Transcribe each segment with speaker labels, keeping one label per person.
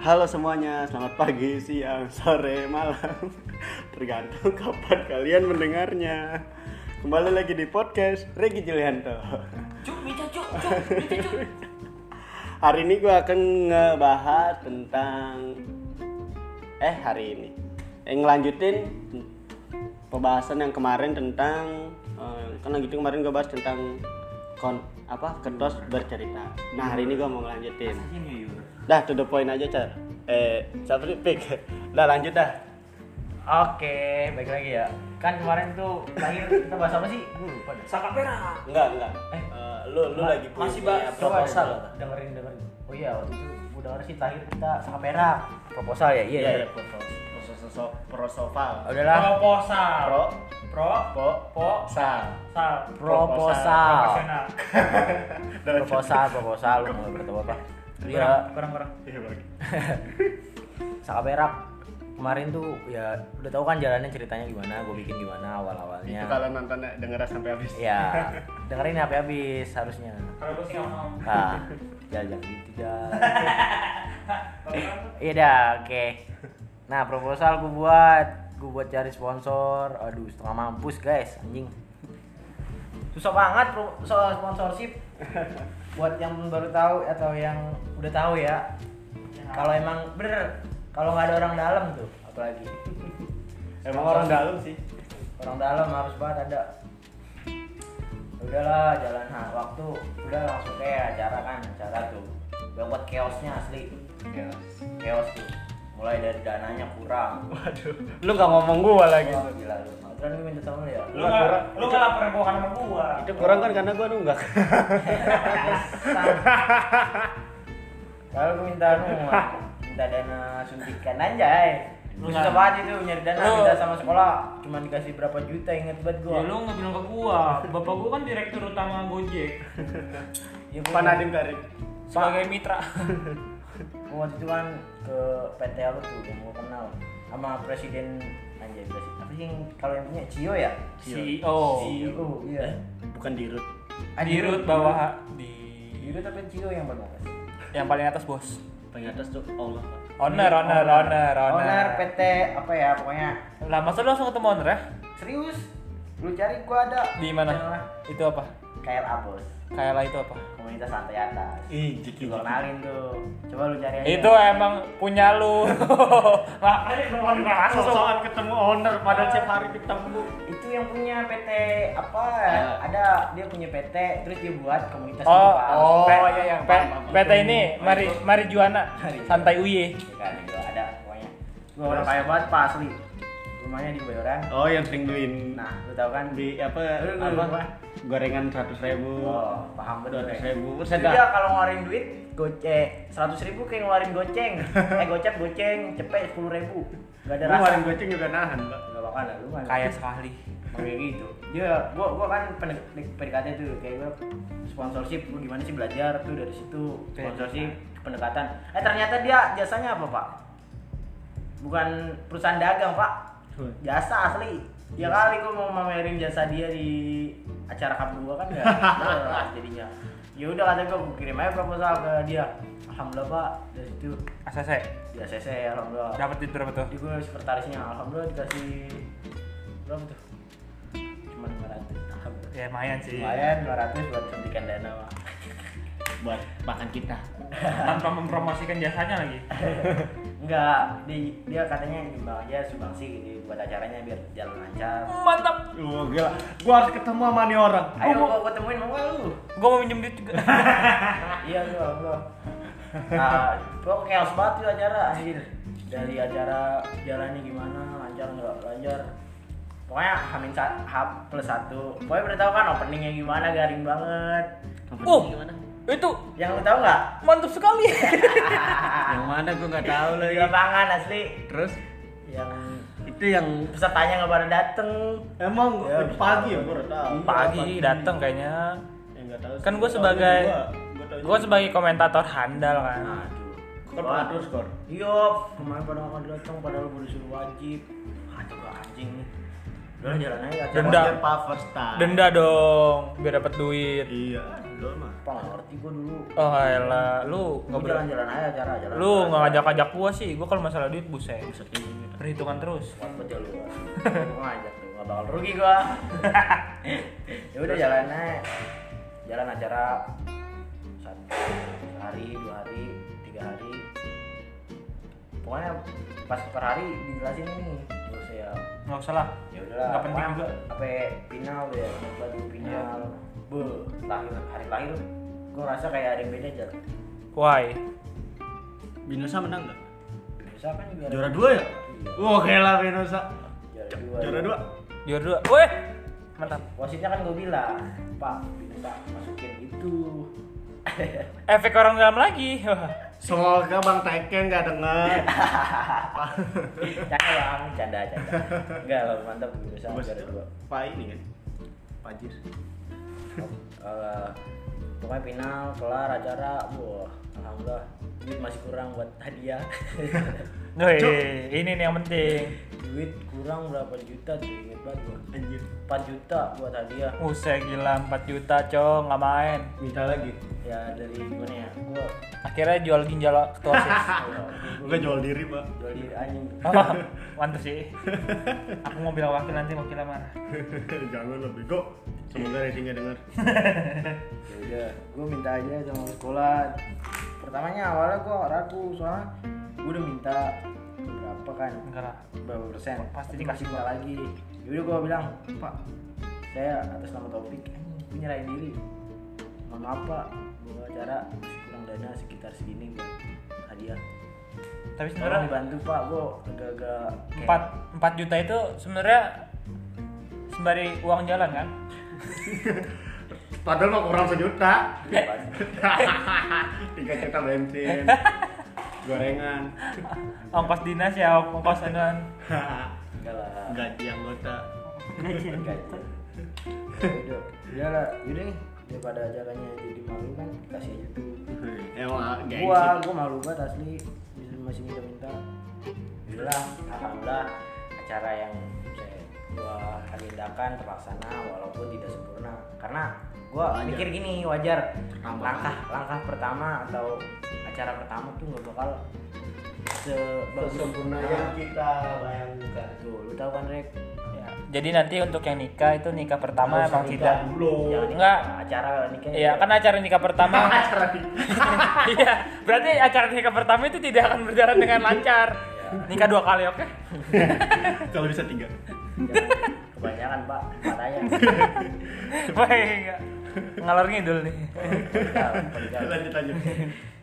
Speaker 1: Halo semuanya, selamat pagi, siang, sore, malam Tergantung kapan kalian mendengarnya Kembali lagi di podcast Regi Julianto
Speaker 2: Cuk, Mica, cuk, cuk, Mica, cuk.
Speaker 1: Hari ini gue akan ngebahas tentang Eh hari ini Eh ngelanjutin pembahasan yang kemarin tentang eh, Kan lanjutin kemarin gue bahas tentang kon apa kertas bercerita Nah hari ini gue mau ngelanjutin
Speaker 2: Ini yuk.
Speaker 1: Dah to the point aja Car Eh siapa sih? Pik Dah lanjut dah
Speaker 3: Oke, baik lagi ya. Kan kemarin tuh lahir kita bahas apa sih? Gue lupa dah.
Speaker 2: Saka perak.
Speaker 1: Enggak enggak
Speaker 3: Eh.
Speaker 1: Eh, Lu, lu lagi punya
Speaker 2: masih bahas
Speaker 3: Coba
Speaker 1: proposal
Speaker 3: dengerin dengerin. Oh iya, waktu itu gue denger sih lahir kita sama perak. Proposal ya? Iya,
Speaker 1: Iya
Speaker 3: iya.
Speaker 1: iya proposal Proposal
Speaker 3: Udahlah.
Speaker 2: Proposal.
Speaker 1: Pro
Speaker 2: Pro.
Speaker 1: Po
Speaker 2: Po.
Speaker 1: Sal
Speaker 2: Sal.
Speaker 3: Proposal.
Speaker 2: Profesional.
Speaker 3: Proposal, proposal. Lu mau ketemu apa? Iya,
Speaker 2: Kurang, kurang.
Speaker 1: Iya bagi
Speaker 3: sama perak. Kemarin tuh ya udah tahu kan jalannya ceritanya gimana, gue bikin
Speaker 1: Itu
Speaker 3: gimana awal-awalnya.
Speaker 1: kalau nonton denger sampai habis
Speaker 3: Iya, dengerin sampai habis harusnya.
Speaker 2: Kalau gue sih ngomong.
Speaker 3: Nah, jangan jangan gitu, jangan.
Speaker 2: Eh,
Speaker 3: Iya dah, oke. Nah proposal gue buat, gue buat cari sponsor. Aduh setengah mampus guys, anjing. Susah banget pro- soal sponsorship. buat yang baru tahu atau yang udah tahu ya. Kalau emang bener, kalau nggak ada orang dalam tuh, apalagi
Speaker 1: Emang orang dalam sih
Speaker 3: orang dalam harus banget ada. Ya Udahlah jalan nah, waktu, udah langsung kayak acara kan, acara tuh. Udah buat chaosnya asli
Speaker 1: Iya.
Speaker 3: chaos tuh mulai dari dananya kurang
Speaker 1: Waduh Lu gak ngomong gua lagi
Speaker 3: Wah, gila lu Madran gue minta tolong lu ya
Speaker 2: Lu nggak lu nggak lapar bukan sama gua.
Speaker 1: Itu kurang kan karena gua nunggak
Speaker 3: kalau gue minta lu minta dana suntikan aja lu
Speaker 2: Lu
Speaker 3: susah
Speaker 2: nggak-
Speaker 3: banget itu nyari dana
Speaker 2: Lu-
Speaker 3: minta sama sekolah cuman dikasih berapa juta inget banget gue
Speaker 2: Ya lu nggak bilang ke gua. Bapak gua kan direktur utama Gojek.
Speaker 3: ya,
Speaker 1: Pak Nadiem Karim
Speaker 2: Sebagai mitra.
Speaker 3: Gua waktu itu kan ke PT lu tuh yang gue kenal sama presiden anjay presiden apa sih yang kalau yang punya Cio ya
Speaker 1: Iya.
Speaker 2: CEO.
Speaker 3: Cio iya
Speaker 1: E Bukan Dirut
Speaker 2: Eh? Dirut bawah di
Speaker 3: Dirut tapi Cio yang berbakas
Speaker 2: yang paling atas bos.
Speaker 1: Paling atas tuh Allah Pak.
Speaker 2: Owner, owner, owner,
Speaker 3: owner
Speaker 2: owner.
Speaker 3: PT apa ya pokoknya
Speaker 2: Lah masa lu langsung ketemu owner ya?
Speaker 3: Serius? Lu cari gua ada.
Speaker 2: Di mana? Itu apa?
Speaker 3: KLA Bos.
Speaker 2: Kayalah itu apa?
Speaker 3: Komunitas santai atas.
Speaker 1: Ih jeki
Speaker 3: Gua kenalin tuh. Coba lu cari aja.
Speaker 2: Itu emang punya lu. Makanya lu kan nggak masuk.
Speaker 1: Soal ketemu owner padahal setiap hari ketemu
Speaker 3: itu yang punya PT apa?
Speaker 1: Eh.
Speaker 3: Ada dia punya PT terus dia buat komunitas
Speaker 2: Oh,
Speaker 3: gitu, Pak.
Speaker 2: oh,
Speaker 3: Pe-
Speaker 2: iya, iya.
Speaker 1: Paham,
Speaker 2: Pe-
Speaker 1: paham.
Speaker 2: PT ini mari marijuana
Speaker 3: Marijuana.
Speaker 2: santai uye.
Speaker 3: Ya kan itu ada pokoknya. Gua orang kaya banget Pak asli. Rumahnya di Bayoran.
Speaker 1: Oh yang sering beliin
Speaker 3: Nah, lu tahu kan
Speaker 1: di apa
Speaker 3: Aduh, aduh,
Speaker 1: apa
Speaker 3: apa?
Speaker 1: gorengan seratus ribu
Speaker 3: Oh, paham
Speaker 1: dua
Speaker 3: betul.
Speaker 1: ratus
Speaker 3: ya.
Speaker 1: ribu
Speaker 3: Dia
Speaker 1: persen dah
Speaker 3: kalau ngeluarin duit goce seratus ribu kayak ngeluarin goceng, eh gocap goceng cepet sepuluh ribu, gak ada
Speaker 1: Lu
Speaker 3: rasa.
Speaker 1: warung goceng juga nahan pak
Speaker 3: Gak bakal lah lu kan.
Speaker 2: Kaya sekali.
Speaker 3: kayak gitu. Dia gua gua kan pendek PDKT tuh kayak gua sponsorship lu gimana sih belajar tuh dari situ sponsorship pendekatan. Eh ternyata dia jasanya apa, Pak? Bukan perusahaan dagang, Pak. Jasa asli. Ya kali gua mau mamerin jasa dia di acara kampus gua kan ya. jelas jadinya. Ya udah kata gua gua kirim aja proposal ke dia. Alhamdulillah, Pak. Dari situ
Speaker 2: ACC
Speaker 3: dia CC alhamdulillah
Speaker 2: dapat duit berapa tuh?
Speaker 3: di gue sekretarisnya alhamdulillah dikasih berapa tuh cuma 500 alhamdulillah
Speaker 2: Ya lumayan sih.
Speaker 3: lumayan 200 buat suntikan dana mah
Speaker 1: buat makan kita
Speaker 2: Tanpa mempromosikan jasanya lagi.
Speaker 3: enggak dia, dia katanya nyumbang aja sumbangsi gitu buat acaranya biar jalan lancar
Speaker 2: Mantap.
Speaker 1: Wah Oh, gila, gua harus ketemu sama nih orang.
Speaker 3: ayo gua, gua temuin mau nggak lu
Speaker 2: Gua mau minjem duit juga.
Speaker 3: iya gua gua nah gua chaos banget tuh acara anjir dari acara jalannya gimana lancar nggak lancar pokoknya hamin sa- H plus satu pokoknya udah tau kan openingnya gimana garing banget
Speaker 2: Oh, itu
Speaker 3: yang lu tau nggak
Speaker 2: mantap sekali.
Speaker 1: Yang mana gua nggak tahu
Speaker 3: di
Speaker 1: lagi.
Speaker 3: lapangan asli
Speaker 1: Terus
Speaker 3: yang
Speaker 1: itu yang
Speaker 3: pesertanya nggak pada dateng
Speaker 1: emang
Speaker 3: Ya,
Speaker 1: gua- pagi ya gua udah tahu.
Speaker 2: Pagi datang kayaknya.
Speaker 1: Yang nggak tahu. sih,
Speaker 2: Kan gua
Speaker 1: taunya
Speaker 2: sebagai-
Speaker 1: gua- gua taunya
Speaker 2: Gua sebagai komentator handal kan.
Speaker 3: aduh
Speaker 1: kan pengatur skor.
Speaker 3: Iya, Yup, kemarin pada nggak dateng padahal gue disuruh wajib aduh gua Ah, anjing nih Udah jalan aja. acara
Speaker 2: Denda.
Speaker 3: wajar,
Speaker 1: Ah,
Speaker 3: Pak first time.
Speaker 2: Denda dong, biar dapat duit.
Speaker 1: Iya, lo mah.
Speaker 3: Apa nggak ngerti gua dulu.
Speaker 2: Oh elah, lu
Speaker 3: Gua
Speaker 2: nggak boleh.
Speaker 3: jalan-jalan aja acara jalan.
Speaker 2: Lu nggak ngajak-ngajak gua sih, gua kalau masalah duit buset.
Speaker 3: Buset kayak
Speaker 2: Perhitungan terus.
Speaker 3: Kuat banget ya lu. Gua ngajak lu nggak bakal rugi gua. ya udah jalan aja. Jalan acara satu hari, dua hari, tiga hari. Pokoknya pas per hari dijelasin nih. Terus ya
Speaker 2: Nggak usah lah.
Speaker 3: ya udahlah
Speaker 2: Nggak penting
Speaker 3: pokoknya
Speaker 2: juga.
Speaker 3: sampai final ya batu final be lahir hari lahir gue ngerasa kayak ada yang beda aja
Speaker 2: Why?
Speaker 1: Binosa menang nggak?
Speaker 3: biasa kan juara
Speaker 1: Juara dua ya? Wah, kela Binosa.
Speaker 3: juara dua
Speaker 1: Juara dua.
Speaker 2: Juara dua. Weh, mantap.
Speaker 3: wasitnya kan gue bilang pak bisa masukin gitu." itu
Speaker 2: Efek orang dalam lagi.
Speaker 1: Semoga Bang Teken nggak dengar.
Speaker 3: canda bang canda canda enggak lah mantap bisa
Speaker 1: Bos.
Speaker 3: juara dua
Speaker 1: Pak ini kan. Pak Jis.
Speaker 3: Eh, pokoknya final kelar acara wah alhamdulillah duit masih kurang buat hadiah
Speaker 2: Woi, ini nih yang penting.
Speaker 3: duit kurang berapa juta tuh inget banget gue
Speaker 1: Anjir.
Speaker 3: 4 juta buat hadiah
Speaker 2: Usai gila 4 juta cong nggak main.
Speaker 1: Minta lagi.
Speaker 3: ya dari gimana ya gua
Speaker 2: Akhirnya jual ginjal ketua sis.
Speaker 1: Enggak jual diri, Pak.
Speaker 3: jual diri anjing
Speaker 2: Oh, mantap sih. Aku mau bilang wakil nanti wakil marah.
Speaker 1: Jangan lebih bego. Semoga Resi nggak dengar.
Speaker 3: ya udah gua minta aja sama sekolah pertamanya awalnya gua ragu soalnya gua udah minta berapa kan
Speaker 2: Enggak lah.
Speaker 3: berapa persen
Speaker 2: Pasti
Speaker 3: Tapi
Speaker 2: dikasih.
Speaker 3: minta lagi yaudah gua bilang pak saya atas nama topik anjing, gua nyerahin diri mohon maaf pak gua acara masih kurang dana sekitar segini buat hadiah
Speaker 2: Tapi
Speaker 3: tolong
Speaker 2: sebenarnya
Speaker 3: dibantu pak gua agak-agak kayak-
Speaker 2: 4 4 juta itu sebenarnya sembari uang jalan kan?
Speaker 1: Padahal mah kurang sejuta.
Speaker 3: Dibantu.
Speaker 1: Tiga juta bensin. Gorengan.
Speaker 2: Ongkos dinas ya, ongkos anuan.
Speaker 3: enggak lah
Speaker 1: Gaji anggota.
Speaker 3: Gaji. Ya Udah, udah lah, udah nih daripada acaranya jadi malu kan kasih aja tuh
Speaker 1: Emang gengsi.
Speaker 3: gua gua malu banget asli bisa masih minta minta udahlah alhamdulillah acara yang saya gua agendakan terlaksana walaupun tidak sempurna karena gua
Speaker 1: Wajar.
Speaker 3: mikir gini wajar
Speaker 1: Pertama.
Speaker 3: langkah langkah pertama atau acara pertama tuh nggak bakal sebagus Nah,
Speaker 1: kita bayangkan.
Speaker 3: tuh lu tahu kan rek ya
Speaker 2: Jadi nanti untuk yang nikah itu nikah pertama emang tidak.
Speaker 1: belum.
Speaker 3: jangan
Speaker 2: Enggak.
Speaker 3: nikah, acara nikah
Speaker 2: Iya, kan acara nikah pertama. Iya, berarti acara nikah pertama itu tidak akan berjalan dengan lancar. Nikah dua kali, oke?
Speaker 1: Kalau bisa tiga.
Speaker 3: Jangan. kebanyakan pak katanya
Speaker 2: Baik, enggak. Ngalor ngidul nih.
Speaker 3: Penjal, penjal.
Speaker 1: Lanjut lanjut.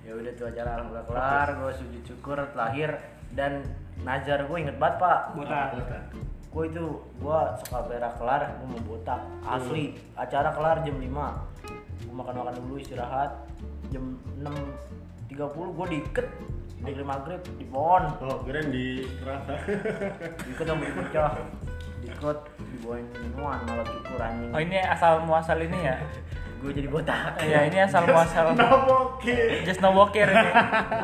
Speaker 3: ya udah tuh acara alhamdulillah kelar gue sujud syukur lahir dan najar gue inget banget pak gue itu gue sekabera kelar gue mau botak
Speaker 2: Hmm.
Speaker 3: asli acara kelar jam 5 gue makan makan dulu istirahat jam 6.30 gue diiket maghrib maghrib di pohon
Speaker 1: Oh, keren di kerasa.
Speaker 3: diiket sama dipecah diiket dibawain minuman malah cukur anjing
Speaker 2: Oh, ini asal muasal ini ya.
Speaker 3: gue jadi botak
Speaker 2: Iya, ini asal muasal.
Speaker 1: Naboki.
Speaker 2: Just no walker ini.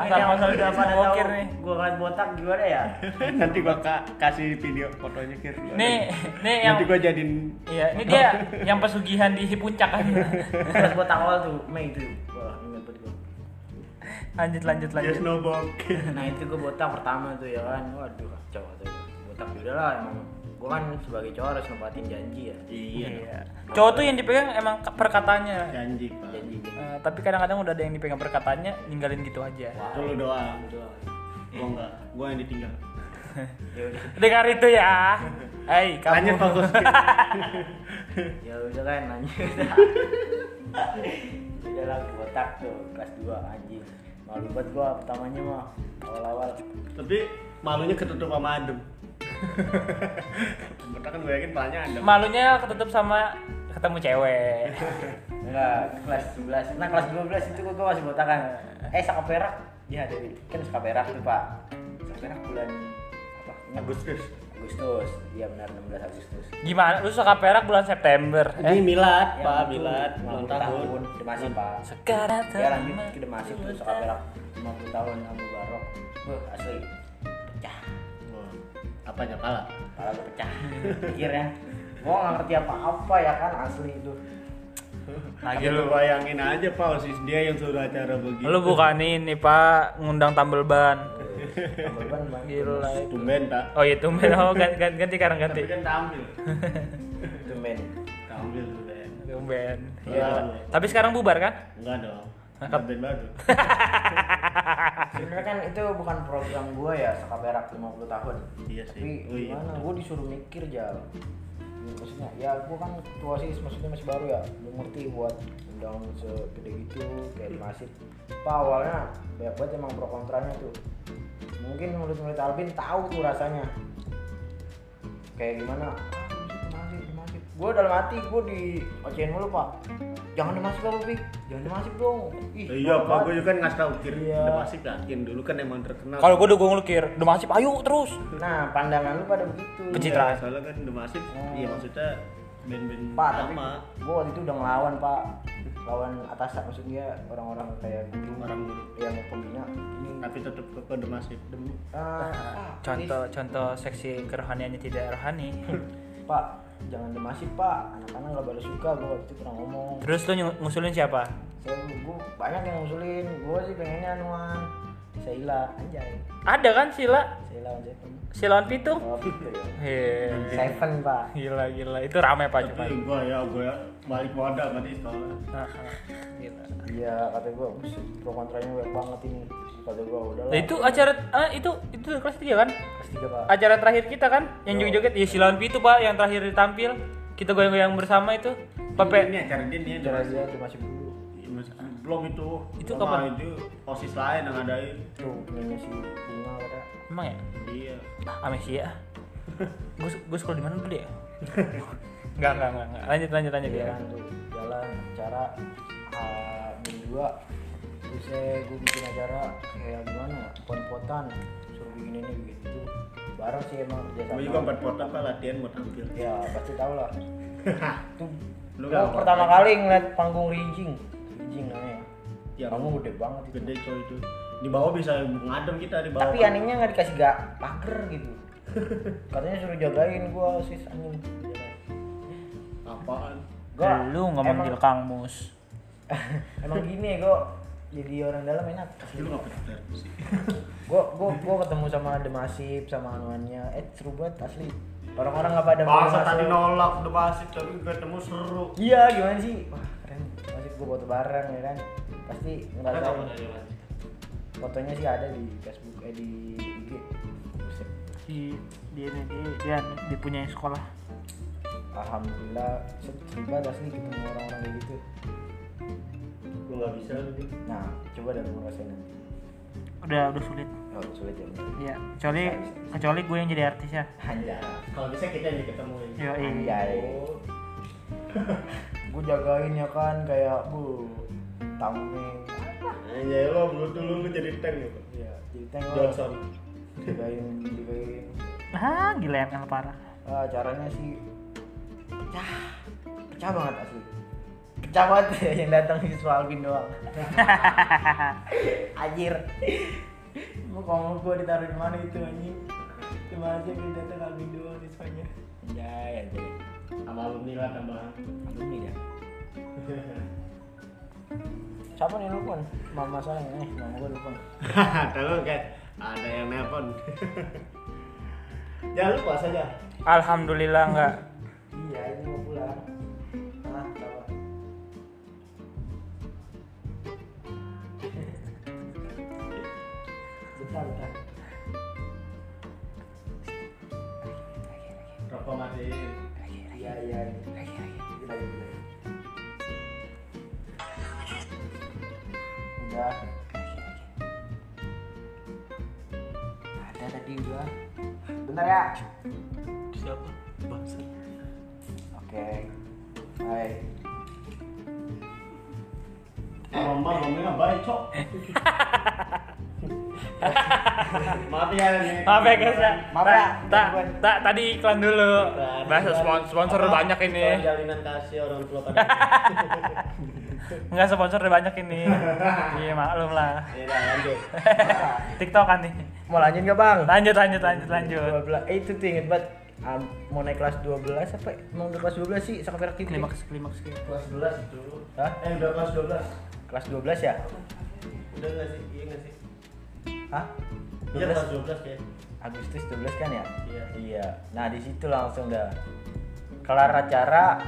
Speaker 2: Asal muasal
Speaker 3: udah
Speaker 2: just
Speaker 3: pada Iya,
Speaker 2: no
Speaker 3: tahu
Speaker 2: walker nih.
Speaker 3: gue ngeliat botak gimana ya
Speaker 1: Nanti gua ka- kasih video fotonya kir.
Speaker 2: Nih, nih yang
Speaker 1: Nanti gua jadiin
Speaker 2: Iya, ini dia yang pesugihan di puncak aja.
Speaker 3: pas botak awal tuh Mei itu wah inget banget gue
Speaker 2: Lanjut, lanjut, lanjut.
Speaker 1: Yes no boki.
Speaker 3: nah itu gue botak pertama tuh ya kan waduh kacau tuh botak ya udah lah emang gue kan sebagai cowok harus nempatin janji ya
Speaker 2: Iya. Cowok tuh yang dipegang emang ke- perkataannya.
Speaker 1: Janji, Pak.
Speaker 3: janji
Speaker 2: Eh, tapi kadang-kadang udah ada yang dipegang perkataannya, ninggalin gitu aja.
Speaker 1: Itu lu doang.
Speaker 3: gitu
Speaker 1: Gua enggak. Gua yang ditinggal.
Speaker 3: ya udah
Speaker 2: Dengar itu ya. Hei, kamu.
Speaker 1: Lanjut fokus.
Speaker 3: ya udah kan lanjut udah lah gua botak tuh kelas 2 anjing malu banget gue pertamanya mah awal-awal
Speaker 1: Tapi malunya ketutup sama adem. Bener kan gue yakin palanya adem.
Speaker 2: Malunya ketutup sama ketemu cewek.
Speaker 3: Enggak, kelas 11. Nah, kelas 12 itu gua, gua masih botak kan. Eh, saka perak. Iya, dari kan saka perak tuh, Pak. Saka perak bulan apa?
Speaker 1: Agustus.
Speaker 3: Agustus. Iya benar 16 Agustus.
Speaker 2: Gimana? Lu suka perak bulan September.
Speaker 1: Ini
Speaker 2: Eh,
Speaker 1: milad,
Speaker 3: Ya,
Speaker 1: Pak,
Speaker 3: itu
Speaker 1: milad ulang
Speaker 3: 50
Speaker 1: tahun.
Speaker 3: Demasi, Pak.
Speaker 2: sekarang
Speaker 3: Ya lanjut ke Demasi tuh saka perak 50 tahun sama Barok. Beuh, asli. Pecah.
Speaker 1: Apanya pala?
Speaker 3: Kepala gue pecah pikirnya. Gua nggak ngerti apa-apa ya kan asli itu.
Speaker 2: Lagi
Speaker 1: Tapi
Speaker 2: lu.
Speaker 1: bayangin aja Pausis dia yang suruh acara begitu.
Speaker 2: Lu bukan ini, Pak, ngundang tambel ban.
Speaker 3: Tambal ban, Bang.
Speaker 2: Gila.
Speaker 1: tumben tak?
Speaker 2: Oh iya tumben oh ganti ganti, ganti sekarang ganti.
Speaker 1: Tapi kan tampil.
Speaker 3: Tumben.
Speaker 1: Tampil tumben.
Speaker 2: Tumben.
Speaker 1: Iya.
Speaker 2: Tapi sekarang bubar kan?
Speaker 1: Enggak dong.
Speaker 2: Hah?
Speaker 1: Tumben baru.
Speaker 3: Sebenarnya kan itu bukan program gua ya sekaberak 50 tahun.
Speaker 1: Iya sih.
Speaker 3: Tapi
Speaker 1: Oh iya,
Speaker 3: gimana?
Speaker 1: betul.
Speaker 3: Gua disuruh mikir jal. Maksudnya ya gua kan tua sih, maksudnya masih baru ya. Belum ngerti buat undang segede gitu kayak di masjid. Apa awalnya banyak banget emang pro kontranya tuh. Mungkin murid-murid Albin tahu tuh rasanya. Kayak gimana? Ah, Masih, masih. Gue dalam hati gue di ocehin mulu pak. Jangan dimasuk pak Pi. Jangan dimasuk dong. Ih,
Speaker 1: Iya,
Speaker 3: banget.
Speaker 1: Pak, gue juga kan ngasih tau Kir,
Speaker 3: Iya.
Speaker 1: udah masih yakin dulu kan emang terkenal.
Speaker 2: Kalau gua dukung lu kir, udah masih ayo terus.
Speaker 3: Nah, pandangan lu pada begitu.
Speaker 2: Benci
Speaker 1: Iya,
Speaker 2: pencitraan.
Speaker 1: soalnya kan udah masih,
Speaker 3: Oh.
Speaker 1: iya maksudnya band-band
Speaker 3: Pak, tapi
Speaker 1: lama
Speaker 3: gua waktu itu udah ngelawan, Pak. Lawan atasan maksudnya orang-orang kayak guru
Speaker 1: orang dulu.
Speaker 3: yang pembina ini.
Speaker 1: Tapi tetap ke kode masif.
Speaker 3: Dem- ah, Pak,
Speaker 2: Contoh contoh seksi kerohaniannya tidak rohani.
Speaker 3: please, Pak, jangan demasif, Pak. Anak-anak nggak pada suka gua waktu itu pernah ngomong.
Speaker 2: Terus lu nyung- ngusulin siapa?
Speaker 3: Saya gua banyak yang ngusulin. Gua sih pengennya anuan. Sheila, anjay.
Speaker 2: Ada kan Sila?
Speaker 3: Sheila on Seven.
Speaker 2: Silawan Pitung?
Speaker 3: Oh, gitu ya.
Speaker 2: Heeh.
Speaker 3: Seven, Pak.
Speaker 2: Gila gila, itu rame Pak cuma.
Speaker 1: Tapi gue ya, gue balik modal sama dia soalnya.
Speaker 2: Gila.
Speaker 3: Iya, kata gua, "Buset, pro kontranya banyak banget ini. Kata gua, udah
Speaker 2: Nah, itu acara ah, itu itu kelas 3 kan?
Speaker 3: Kelas tiga, Pak.
Speaker 2: Acara terakhir kita kan yang joget-joget ya Silawan Pitu Pak yang terakhir ditampil. Kita goyang-goyang bersama itu. Pape
Speaker 1: Ini acara dia nih, udah
Speaker 3: Acara dia demasif dulu.
Speaker 1: Iya, masih- belum itu.
Speaker 2: Itu
Speaker 1: Sama
Speaker 2: kapan?
Speaker 1: Itu osis lain yang ngadain.
Speaker 3: tuh punyanya si bunga pada
Speaker 2: emang ya?
Speaker 1: Iya.
Speaker 2: Amesia. gue gue sekolah di mana dulu ya? Enggak, enggak, enggak, enggak. Lanjut, lanjut, lanjut ya.
Speaker 3: jalan tuh jalan acara ah, berdua terus gue bikin acara kayak gimana ya pot-potan suruh bikin ini bikin itu bareng sih emang kerjasama
Speaker 1: Gue juga empat pot apa latihan mau tampil.
Speaker 3: ya pasti tau lah tuh
Speaker 1: Lu
Speaker 3: lu
Speaker 1: nggak mau
Speaker 3: Oh, pertama
Speaker 1: apa?
Speaker 3: kali ngeliat panggung rinjing rinjing namanya
Speaker 1: Ya,
Speaker 3: panggung gede banget itu
Speaker 1: Gede coy itu. Di bawah bisa ngadem kita di bawah. kan.
Speaker 3: tapi anehnya nggak dikasih gak pager gitu katanya suruh jagain gue sis anjing
Speaker 1: Apaan?
Speaker 3: Gua
Speaker 2: Lu nggak
Speaker 3: emang-
Speaker 2: manggil Kang Mus.
Speaker 3: emang gini gue jadi orang dalam enak
Speaker 1: Pasti lu nggak peduli sih.
Speaker 3: gue gue gue ketemu sama Demasif sama anuannya eh seru banget asli orang-orang nggak pada mau
Speaker 1: Bangsa
Speaker 3: masuk.
Speaker 1: tadi nolak udah masif tapi ketemu seru.
Speaker 3: iya gimana sih wah keren Demasif gue foto bareng ya kan pasti nggak tahu fotonya sih ada di Facebook eh di IG Buset.
Speaker 2: Di dia dia dia dipunyai sekolah.
Speaker 3: alhamdulillah set- seru banget asli ketemu orang-orang kayak gitu
Speaker 1: Gue nggak bisa. lu.
Speaker 3: nah coba deh lu ngerasain nanti
Speaker 2: Udah udah sulit.
Speaker 3: oh sulit ya bener.
Speaker 2: Iya, kecuali kecuali gue yang jadi artis ya.
Speaker 1: Iya.
Speaker 3: anjay
Speaker 1: Kalau bisa kita yang diketemuin.
Speaker 2: Yo, iya.
Speaker 3: anjay gue jagain ya kan kayak bu tameng
Speaker 1: Anjay lo menurut dulu lu jadi tank gitu.
Speaker 3: Iya, jadi tank lo
Speaker 1: Johnson.
Speaker 3: digain digain
Speaker 2: Ah, gila yang el parah.
Speaker 3: ah, caranya sih pecah pecah banget asli pecah banget yang datang di Alvin doang Anjir Gua kamu gua ditaruh di mana itu anjing Cuma aja yang datang Alvin doang di Spanyol Anjay anjay
Speaker 1: Sama alumni lah tambahan.
Speaker 3: Alumni dah Siapa nih nelfon? Mama saya nih, mama gua nelfon
Speaker 1: Tahu kan ada yang nelpon. Jangan lupa saja.
Speaker 2: Alhamdulillah enggak.
Speaker 3: Iya, ini mau pulang. Ah, tahu. Bentar, bentar.
Speaker 1: Rokok masih.
Speaker 3: Iya, iya. Lagi, lagi. Lagi, lagi, lagi. Udah. Ada tadi udah. Bentar ya.
Speaker 2: Siapa? Bangsa.
Speaker 3: Oke. Hai.
Speaker 1: Ngomong ngomongnya baik cok. Maaf ya nih.
Speaker 2: Maaf ya guys ya.
Speaker 3: Maaf ya,
Speaker 2: Tak,
Speaker 3: gangguan.
Speaker 2: tak tadi iklan dulu. Bahasa
Speaker 1: Iklan.
Speaker 2: sponsor sponsor
Speaker 1: Kan, Apa?
Speaker 2: banyak ini.
Speaker 1: Soal Jalinan kasih orang tua pada.
Speaker 2: Enggak sponsor udah banyak ini. Iya maklum lah.
Speaker 1: Ya udah lanjut.
Speaker 2: TikTok kan nih.
Speaker 3: Mau lanjut nggak bang?
Speaker 2: Lanjut lanjut lanjut lanjut.
Speaker 3: 12. Eh, itu tuh inget banget. Ah, mau naik kelas 12 apa? Mau naik kelas 12 sih, sama Perak Titi.
Speaker 2: Klimaks klimaks gitu.
Speaker 1: Kelas 12 itu.
Speaker 3: Hah?
Speaker 1: Eh udah kelas 12.
Speaker 3: Kelas 12 ya?
Speaker 1: Udah nggak sih? Iya nggak sih?
Speaker 3: Hah?
Speaker 1: Iya
Speaker 3: 12?
Speaker 1: kelas 12 ya.
Speaker 3: Agustus 12 kan ya?
Speaker 1: Iya.
Speaker 3: Iya. Nah, di situ langsung dah kelar acara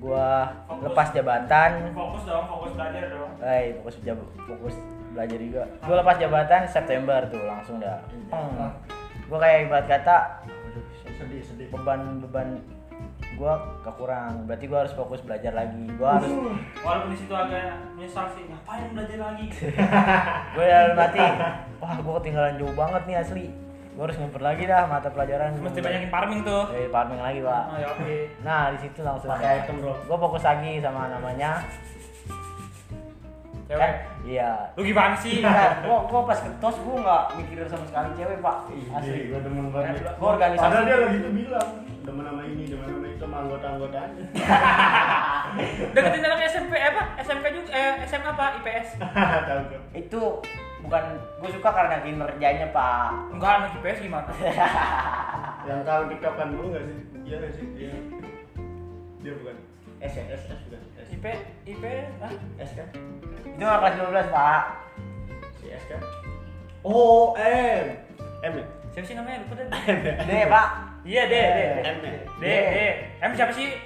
Speaker 3: gua
Speaker 2: Fokus.
Speaker 3: lepas jabatan.
Speaker 2: Fokus dong, fokus belajar dong.
Speaker 3: Eh, fokus jab fokus belajar juga. Gua lepas jabatan September tuh langsung dah.
Speaker 2: Iya.
Speaker 3: Peng. Gua kayak ibarat kata
Speaker 1: Sedih sedih.
Speaker 3: beban-beban gua kekurang. Berarti gua harus fokus belajar lagi. Gua harus
Speaker 2: Walaupun di situ agak menyesal sih, ngapain belajar lagi?
Speaker 3: gue dalam hati wah gue ketinggalan jauh banget nih asli gue harus ngumpet lagi dah mata pelajaran
Speaker 2: Mesti banyakin farming tuh.
Speaker 3: dari farming lagi pak
Speaker 2: Oh, ya oke.
Speaker 3: nah di situ langsung
Speaker 1: Pakai item bro.
Speaker 3: gue fokus lagi sama namanya
Speaker 2: Cewek.
Speaker 3: Eh, iya
Speaker 2: Lu gimana sih?
Speaker 4: Enggak, gua, gua pas ketos gua nggak mikirin sama sekali cewek pak
Speaker 1: Iya,
Speaker 4: asli
Speaker 1: Ih, gue demen banget.
Speaker 4: Gua organisasi.
Speaker 1: Padahal dia lagi itu bilang demen sama ini, demen sama itu, sama anggota-anggotanya.
Speaker 2: Deketin anak SMP eh, apa? SMP juga eh, SMA apa? IPS.
Speaker 1: Hahaha, Tahu gue.
Speaker 4: itu bukan gua suka karena kinerjanya pak
Speaker 2: Enggak anak IPS gimana?
Speaker 1: Yang tahu dikapan dulu nggak sih? Iya nggak sih? Iya. Dia bukan.
Speaker 3: Eh,
Speaker 4: S ya S
Speaker 1: S bukan. S.
Speaker 2: IP IP ah.
Speaker 4: S kan itu nggak kelas 12 pak
Speaker 1: Si S kan? Oh M. M ya?
Speaker 2: Siapa sih namanya? Lupa deh.
Speaker 4: D pak
Speaker 2: Iya, deh, deh.
Speaker 1: M ya?
Speaker 2: Deh, deh. Em siapa sih?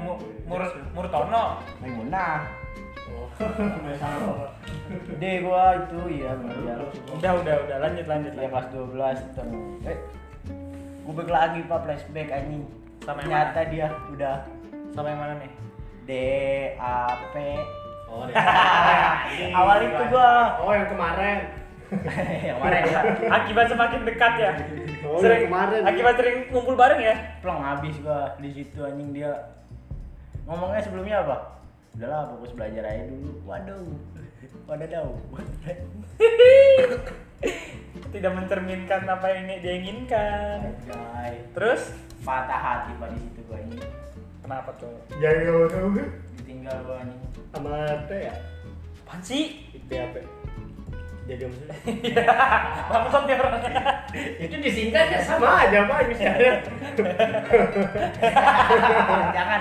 Speaker 2: Mu- Mur Murtono.
Speaker 3: Maimunah
Speaker 1: Oh, sama.
Speaker 3: D gua itu iya benar ya
Speaker 2: Udah, udah, udah. Lanjut, lanjut.
Speaker 3: Iya, kelas 12 terus eh gue back lagi pak flashback anjing
Speaker 2: Sama yang
Speaker 3: ternyata dia udah
Speaker 2: Sama yang mana nih?
Speaker 3: D A P
Speaker 1: Oh, deh.
Speaker 3: awal itu gua
Speaker 1: Oh, yang kemarin.
Speaker 3: yang mana ya
Speaker 2: Akibat semakin dekat ya.
Speaker 1: Oh, yang
Speaker 2: Sering
Speaker 1: kemarin.
Speaker 2: Akibat sering ngumpul bareng ya.
Speaker 3: plong habis gua di situ anjing dia ngomongnya sebelumnya apa udahlah fokus belajar aja dulu waduh wadadau
Speaker 2: Tidak mencerminkan apa yang dia inginkan.
Speaker 3: Anjay.
Speaker 2: Terus
Speaker 3: patah hati pak di situ gua ini
Speaker 2: kenapa tuh?
Speaker 1: Jadi kamu tahu kan?
Speaker 3: ditinggal gua anjing
Speaker 1: sama T ya?
Speaker 2: Apaan sih?
Speaker 1: Itu apa? Jadi maksudnya?
Speaker 2: Bangsat dia orangnya.
Speaker 1: itu disingkat ya sama aja pak misalnya.
Speaker 3: jangan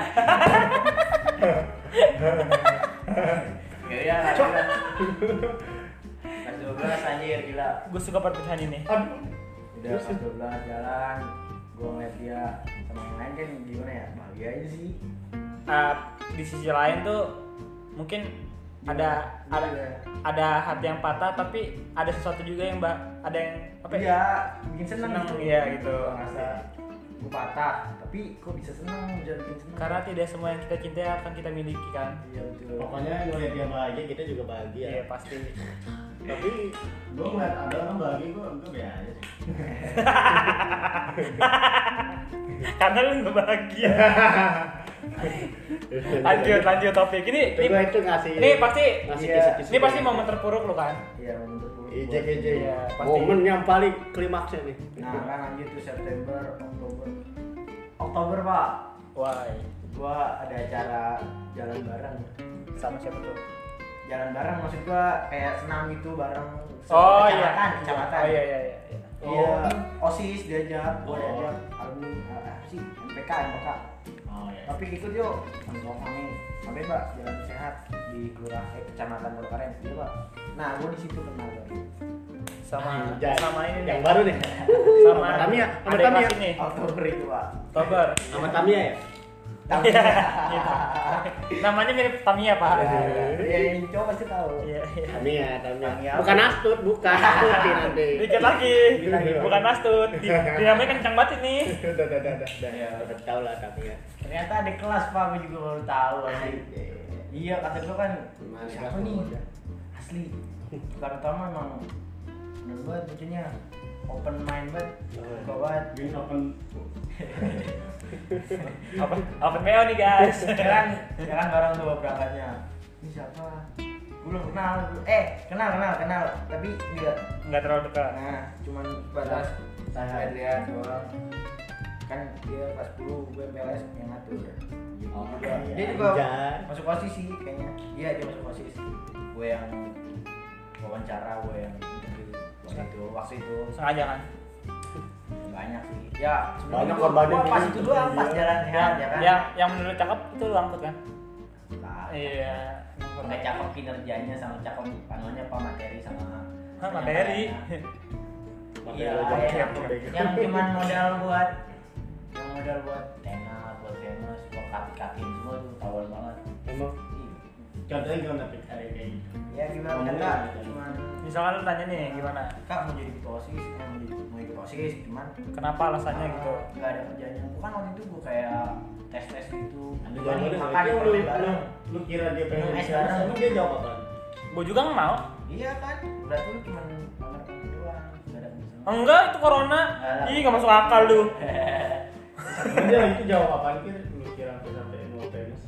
Speaker 1: Iya,
Speaker 4: ya ya kelas 12 anjir gila
Speaker 2: Gue suka perpecahan ini.
Speaker 1: Aduh.
Speaker 3: udah kelas 12 jalan gua ngeliat dia sama yang lain kan gimana ya bahagia aja sih
Speaker 2: Uh, di sisi lain tuh mungkin
Speaker 3: Iya.
Speaker 2: ada ada ada hati yang patah tapi ada sesuatu juga yang mbak ada yang apa ya?
Speaker 3: iya bikin seneng gitu
Speaker 2: Seneng, iya, gitu.
Speaker 3: Gua ngerasa gua patah tapi kok bisa seneng bisa bikin seneng
Speaker 2: Karena tidak semua yang kita cintai akan kita miliki kan.
Speaker 3: iya betul
Speaker 1: Pokoknya ngeliat dia bahagia kita juga bahagia.
Speaker 2: Iya pasti.
Speaker 1: Tapi gue ngeliat ada orang bahagia gue gue be aja sih.
Speaker 2: Karena lu
Speaker 1: Iya,
Speaker 2: nggak bahagia. lanjut lanjut topik ini.
Speaker 1: Itu gue
Speaker 2: Ini,
Speaker 1: itu ngasih.
Speaker 2: ini pasti
Speaker 1: ngasih
Speaker 3: Iya.
Speaker 1: kisi-kisi.
Speaker 2: ini pasti momen terpuruk lu kan.
Speaker 3: iya menurut gua.
Speaker 1: Ijek ijek.
Speaker 2: Iya, pasti.
Speaker 1: Momen yang paling klimaksnya nih.
Speaker 3: Nah, kan lanjut tuh September, Oktober.
Speaker 4: Oktober pak
Speaker 2: Wah.
Speaker 3: Gua ada acara jalan bareng.
Speaker 2: Sama siapa tuh?
Speaker 3: Jalan bareng maksud gua kayak senam gitu bareng.
Speaker 2: Oh iya.
Speaker 3: Kecamatan, kecamatan.
Speaker 2: Oh iya iya iya. iya.
Speaker 3: Iya, OSIS diajak, gua
Speaker 1: Oh.
Speaker 3: diajak alumni eh, apa sih? MPK, MPK.
Speaker 1: Oh iya.
Speaker 3: Tapi ikut yuk, nongkrong kami. Sampai Pak jalan sehat di kelurahan eh, kecamatan Pondokaren, gitu Pak. Nah, gua di situ kenal Pak.
Speaker 2: Sama
Speaker 1: Anjay.
Speaker 2: sama
Speaker 1: Yang
Speaker 2: ini nih. Iya.
Speaker 1: baru nih.
Speaker 2: Sama
Speaker 1: Sama Tamiya, sama
Speaker 2: adik kelas
Speaker 1: Tamiya.
Speaker 3: Eh.
Speaker 2: ini.
Speaker 3: Oktober itu Pak.
Speaker 2: Oktober.
Speaker 1: Sama Tamia ya.
Speaker 3: Tapi
Speaker 2: Iya, gitu. Namanya mirip Tamiya, Pak.
Speaker 1: Iya,
Speaker 3: ya yang cowok pasti tahu.
Speaker 2: Iya, iya.
Speaker 1: Tamia,
Speaker 3: Tamiya.
Speaker 1: Tamia. Bukan Astut, bukan. Astuti nanti.
Speaker 2: Dikit lagi.
Speaker 1: Dikit lagi, Pak.
Speaker 2: Bukan Astut. Di- Dinamanya kencang banget ini.
Speaker 1: Udah, udah, udah, udah. Udah tau lah Tamia.
Speaker 3: Ternyata ada kelas Pak, gua juga baru tahu anjing. Iya kata gue kan
Speaker 1: Gimana
Speaker 3: siapa
Speaker 1: kelas
Speaker 3: nih
Speaker 1: pemuda?
Speaker 3: asli bukan utama emang bener banget lucunya open mind banget buka banget
Speaker 1: Oh, iya. Gini open
Speaker 2: Apa apa meo nih, guys.
Speaker 3: jalan jalan bareng tuh berangkatnya ini siapa gue belum kenal Gua- eh kenal kenal kenal tapi dia
Speaker 2: Enggak terlalu dekat.
Speaker 3: nah cuman batas
Speaker 1: Iya,
Speaker 3: saya lihat doang kan dia pas 10 gue PLS yang ngatur
Speaker 5: Oh,
Speaker 3: dia juga
Speaker 1: Anjay.
Speaker 3: masuk osis sih kayaknya iya dia masuk osis
Speaker 5: gue yang wawancara gue yang interview waktu itu waktu itu
Speaker 2: sengaja kan
Speaker 5: banyak sih
Speaker 3: ya
Speaker 1: Banyak
Speaker 3: sebenarnya
Speaker 1: korbannya
Speaker 3: gua- gua pas
Speaker 1: gitu.
Speaker 3: itu doang pas
Speaker 1: Iya.
Speaker 3: jalan sehat ya kan Nah,
Speaker 2: yang yang menurut cakep itu lu angkut kan
Speaker 5: lah
Speaker 2: iya
Speaker 5: nggak cakep kinerjanya sama cakep anuannya apa materi sama
Speaker 2: Hah, materi
Speaker 5: iya
Speaker 1: Materi aja
Speaker 5: yang,
Speaker 1: cakep.
Speaker 5: yang cuman modal buat yang modal buat tenar buat famous buat kaki kakin semua tuh tawon banget
Speaker 1: Emang
Speaker 5: Ih,
Speaker 6: Contohnya gimana Pik? Ada yang kayak gitu.
Speaker 3: ya
Speaker 5: Iya,
Speaker 3: gimana
Speaker 1: Ngomong
Speaker 3: enggak
Speaker 5: gitu.
Speaker 1: aja.
Speaker 3: cuman eh,
Speaker 2: misalkan lu tanya nih gimana
Speaker 3: kak mau jadi ketua osis eh mau jadi mau ikut osis cuman eh,
Speaker 2: kenapa alasannya gitu
Speaker 3: nggak ada kerjanya bukan waktu itu gue kayak tes tes gitu
Speaker 5: Ada
Speaker 3: Gua
Speaker 5: jawabannya
Speaker 3: nih
Speaker 5: nggak?
Speaker 3: makan
Speaker 6: Lu-
Speaker 3: permen
Speaker 6: lu-
Speaker 3: bareng.
Speaker 6: lu- Lu kira dia pengen
Speaker 3: Minum es
Speaker 6: bicara,
Speaker 3: bareng.
Speaker 6: lu dia jawab apa?
Speaker 2: gue juga nggak mau
Speaker 3: iya kan berarti lu cuman makan permen doang nggak ada kerjanya
Speaker 2: enggak itu corona ih nggak masuk akal lu
Speaker 5: Oh.
Speaker 6: Dia itu jawab apa? Lu kira sampai sampai mau famous.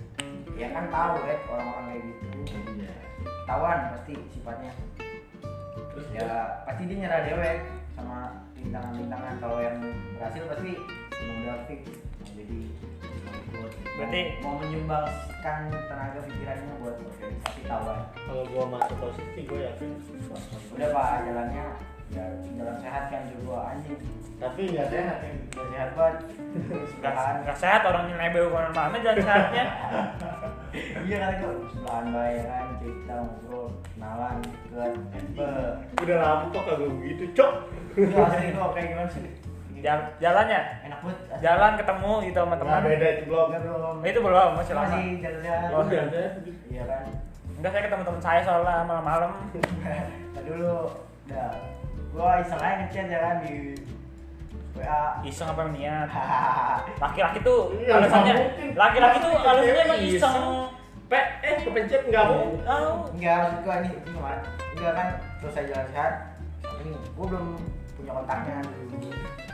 Speaker 3: ya kan tahu kan orang-orang kayak gitu ketahuan pasti sifatnya
Speaker 6: Terus
Speaker 3: ya
Speaker 6: dia
Speaker 3: pasti dia nyerah dewek sama bintangan-bintangan kalau yang berhasil pasti modal fix jadi mau ikut.
Speaker 2: Berarti-
Speaker 3: mau menyumbangkan tenaga pikirannya buat organisasi tawan
Speaker 1: kalau gua masuk osis sih gua yakin.
Speaker 3: udah pak jalannya ya, jalan sehat kan juga anjing
Speaker 6: tapi nggak sehat kan.
Speaker 3: udah sehat banget sebelahan
Speaker 2: nggak sehat orang yang nebel corona mana jalan sehatnya
Speaker 3: iya kan itu sebelahan baik kan cerita ngobrol kenalan deket Be-
Speaker 6: Udah lama kok kagak begitu, cok.
Speaker 3: itu asli kok kayak gimana sih
Speaker 2: Jal- jalannya
Speaker 3: enak banget asli.
Speaker 2: jalan ketemu gitu sama
Speaker 6: Nah,
Speaker 2: teman
Speaker 6: beda itu blog.
Speaker 3: Enggak belum
Speaker 2: Oh, itu belum masih lama
Speaker 3: kan, masih jalan
Speaker 6: Oh, nggak sehat.
Speaker 3: iya kan
Speaker 2: enggak saya ketemu teman saya soalnya malam-malam
Speaker 3: Tadi dulu udah gua iseng aja ngechat ya kan di WA
Speaker 2: iseng apa niat
Speaker 3: Hahaha.
Speaker 2: laki-laki tuh
Speaker 6: Iya,
Speaker 2: alasannya
Speaker 6: nggak mungkin.
Speaker 2: laki-laki tuh
Speaker 6: Pasti
Speaker 2: alasannya
Speaker 6: cewek
Speaker 2: emang iseng
Speaker 6: iseng. Pe, eh kepencet nggak mau.
Speaker 2: oh,
Speaker 3: enggak maksud gua ini gimana enggak kan terus saya jalan sehat tapi gua belum punya kontaknya dulu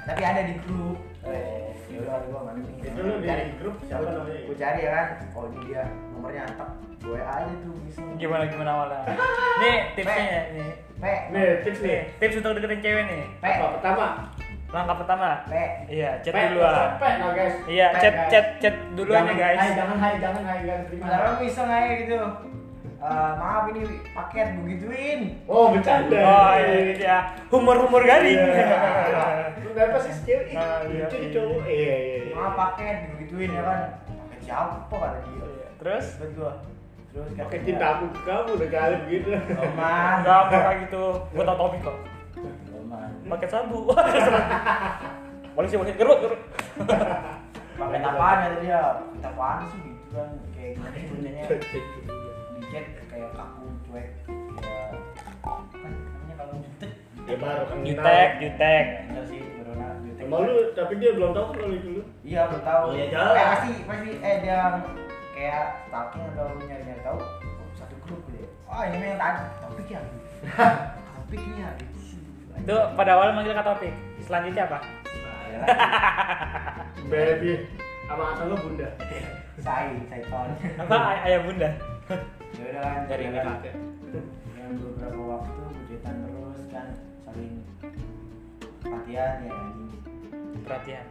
Speaker 3: tapi ada di grup eh yaudah gua mana nih
Speaker 6: Itu lu di
Speaker 3: cari
Speaker 6: grup siapa namanya?
Speaker 3: gua cari ya kan oh ini dia nomornya tek gua WA aja tuh bisa
Speaker 2: gimana gimana awalnya nih tipsnya nih
Speaker 3: pe
Speaker 6: Nih, tips
Speaker 2: nih
Speaker 6: nih.
Speaker 2: tips untuk deketin cewek nih
Speaker 3: pe
Speaker 6: Apa pertama?
Speaker 2: langkah pertama
Speaker 3: pe
Speaker 2: iya chat
Speaker 6: Pe,
Speaker 2: duluan
Speaker 6: Pe, no guys.
Speaker 2: iya
Speaker 6: Pe,
Speaker 2: chat
Speaker 6: guys.
Speaker 2: chat chat duluan ya
Speaker 6: Jangan, hai,
Speaker 2: guys
Speaker 6: jangan hai, jangan hai, jangan terima.
Speaker 3: Padahal gua iseng aja gitu Eh, maaf ini paket begituin
Speaker 6: Oh, bercanda.
Speaker 2: oh iya, iya humor-humor garing
Speaker 6: Iya.
Speaker 2: Iya.
Speaker 6: Kenapa sih skill itu?
Speaker 2: Ah, iya,
Speaker 6: Lucu
Speaker 2: iya.
Speaker 6: cowok. Iya, iya, iya.
Speaker 3: Cuma pakai digituin ya kan. Pakai siapa kata dia?
Speaker 2: terus
Speaker 3: Terus gua terus
Speaker 6: Pakai
Speaker 3: kata
Speaker 6: cinta
Speaker 3: dia,
Speaker 6: aku ke kamu udah gitu. kali begitu.
Speaker 3: "Oh, Mas,
Speaker 2: enggak apa kayak gitu gua tau topik kok
Speaker 5: Roman
Speaker 2: pakai sabu polisi polisi gerut gerut
Speaker 3: pakai apaan kata dia? Kita apaan sih gitu kan kayak gimana sih sebenarnya di chat kayak kaku cuek kayak apa namanya kalau jutek
Speaker 6: Ya baru kenal.
Speaker 2: jutek jutek
Speaker 3: bener sih corona jutek.
Speaker 6: Emang lu, tapi dia belum tahu kalau itu lu.
Speaker 3: Iya, belum tahu.
Speaker 2: Oh,
Speaker 6: Iya, jalan.
Speaker 3: Eh, pasti pasti eh dia kayak stalking atau nyari-nyari tahu oh, satu grup gitu. Oh, ini yang tadi topik ya. Topiknya
Speaker 2: itu pada awal manggil kata topik selanjutnya apa
Speaker 6: Baby. Sama asal lu bunda.
Speaker 3: Sai, sai ton.
Speaker 2: apa ay- ayah bunda
Speaker 3: Ya udah kan
Speaker 2: Dari
Speaker 3: jalan.
Speaker 2: ini
Speaker 3: Dengan beberapa waktu berjutaan terus kan saling perhatian ya anjing.
Speaker 2: perhatian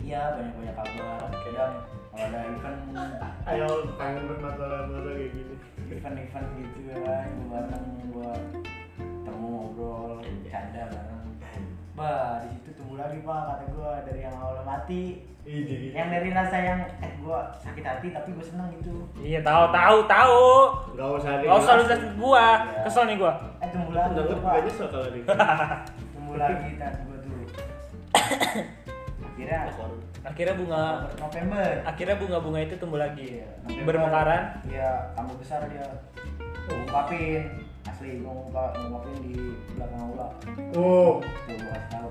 Speaker 3: Iya banyak-banyak kabar. Kadang kalau ada kan event
Speaker 6: Ayo kangen banget masalah-masalah kayak gini.
Speaker 3: event-event gitu ya kan gua bareng gua ketemu ngobrol canda bareng. Bah, di situ tumbuh lagi pak kata gua dari yang awal mati
Speaker 1: Iya.
Speaker 6: Ini.
Speaker 3: yang dari rasa yang eh gua sakit hati tapi gua seneng gitu
Speaker 2: iya tahu tahu tahu
Speaker 6: Gak usah ada.
Speaker 2: Gak usah lu jelasin ke gua,
Speaker 3: Iya.
Speaker 2: kesel nih gua
Speaker 3: eh tumbuh lagi
Speaker 6: Nggak
Speaker 3: tuh,
Speaker 6: nggak
Speaker 3: pak
Speaker 6: nyesel kalau dia.
Speaker 3: tumbuh lagi dan gue tuh akhirnya
Speaker 2: Akhirnya bunga
Speaker 3: November Iya,
Speaker 2: Akhirnya bunga-bunga itu tumbuh lagi
Speaker 3: November,
Speaker 2: Bermekaran
Speaker 3: iya tambah besar dia ungkapin asli gue ngungkap ngungkapin di belakang aula
Speaker 6: Oh.
Speaker 3: tuh gue kasih tahu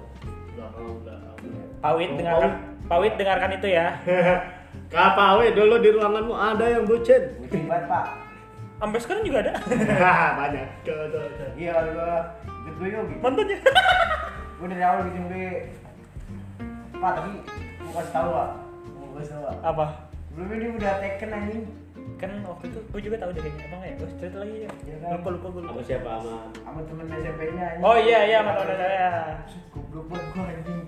Speaker 3: Iya.
Speaker 6: Belakang, belakang.
Speaker 2: Pawit
Speaker 6: Oh,
Speaker 2: dengarkan Pawit dengarkan itu ya
Speaker 6: Kapawe dulu di ruanganmu ada yang bucin.
Speaker 3: gue banget pak
Speaker 2: Sampai sekarang juga ada
Speaker 6: Hahaha, banyak. Tuh, tuh, tuh.
Speaker 3: iya kalau gue ikut gue yuk gitu
Speaker 2: Mantannya
Speaker 3: gue dari awal bikin gue pak tapi gue kasih tahu pak gue kasih tahu pak
Speaker 2: Apa?
Speaker 3: sebelumnya dia udah taken anjing
Speaker 2: Kan waktu itu gua juga tahu deh kayaknya Emang ya? Gua cerita lagi ya
Speaker 3: Iya kan?
Speaker 2: Lupa lupa gua lupa
Speaker 1: Sama siapa sama
Speaker 3: sama temen SMP nya anjing
Speaker 2: Oh iya iya sama temen saya
Speaker 3: Maksud goblok banget gue anjing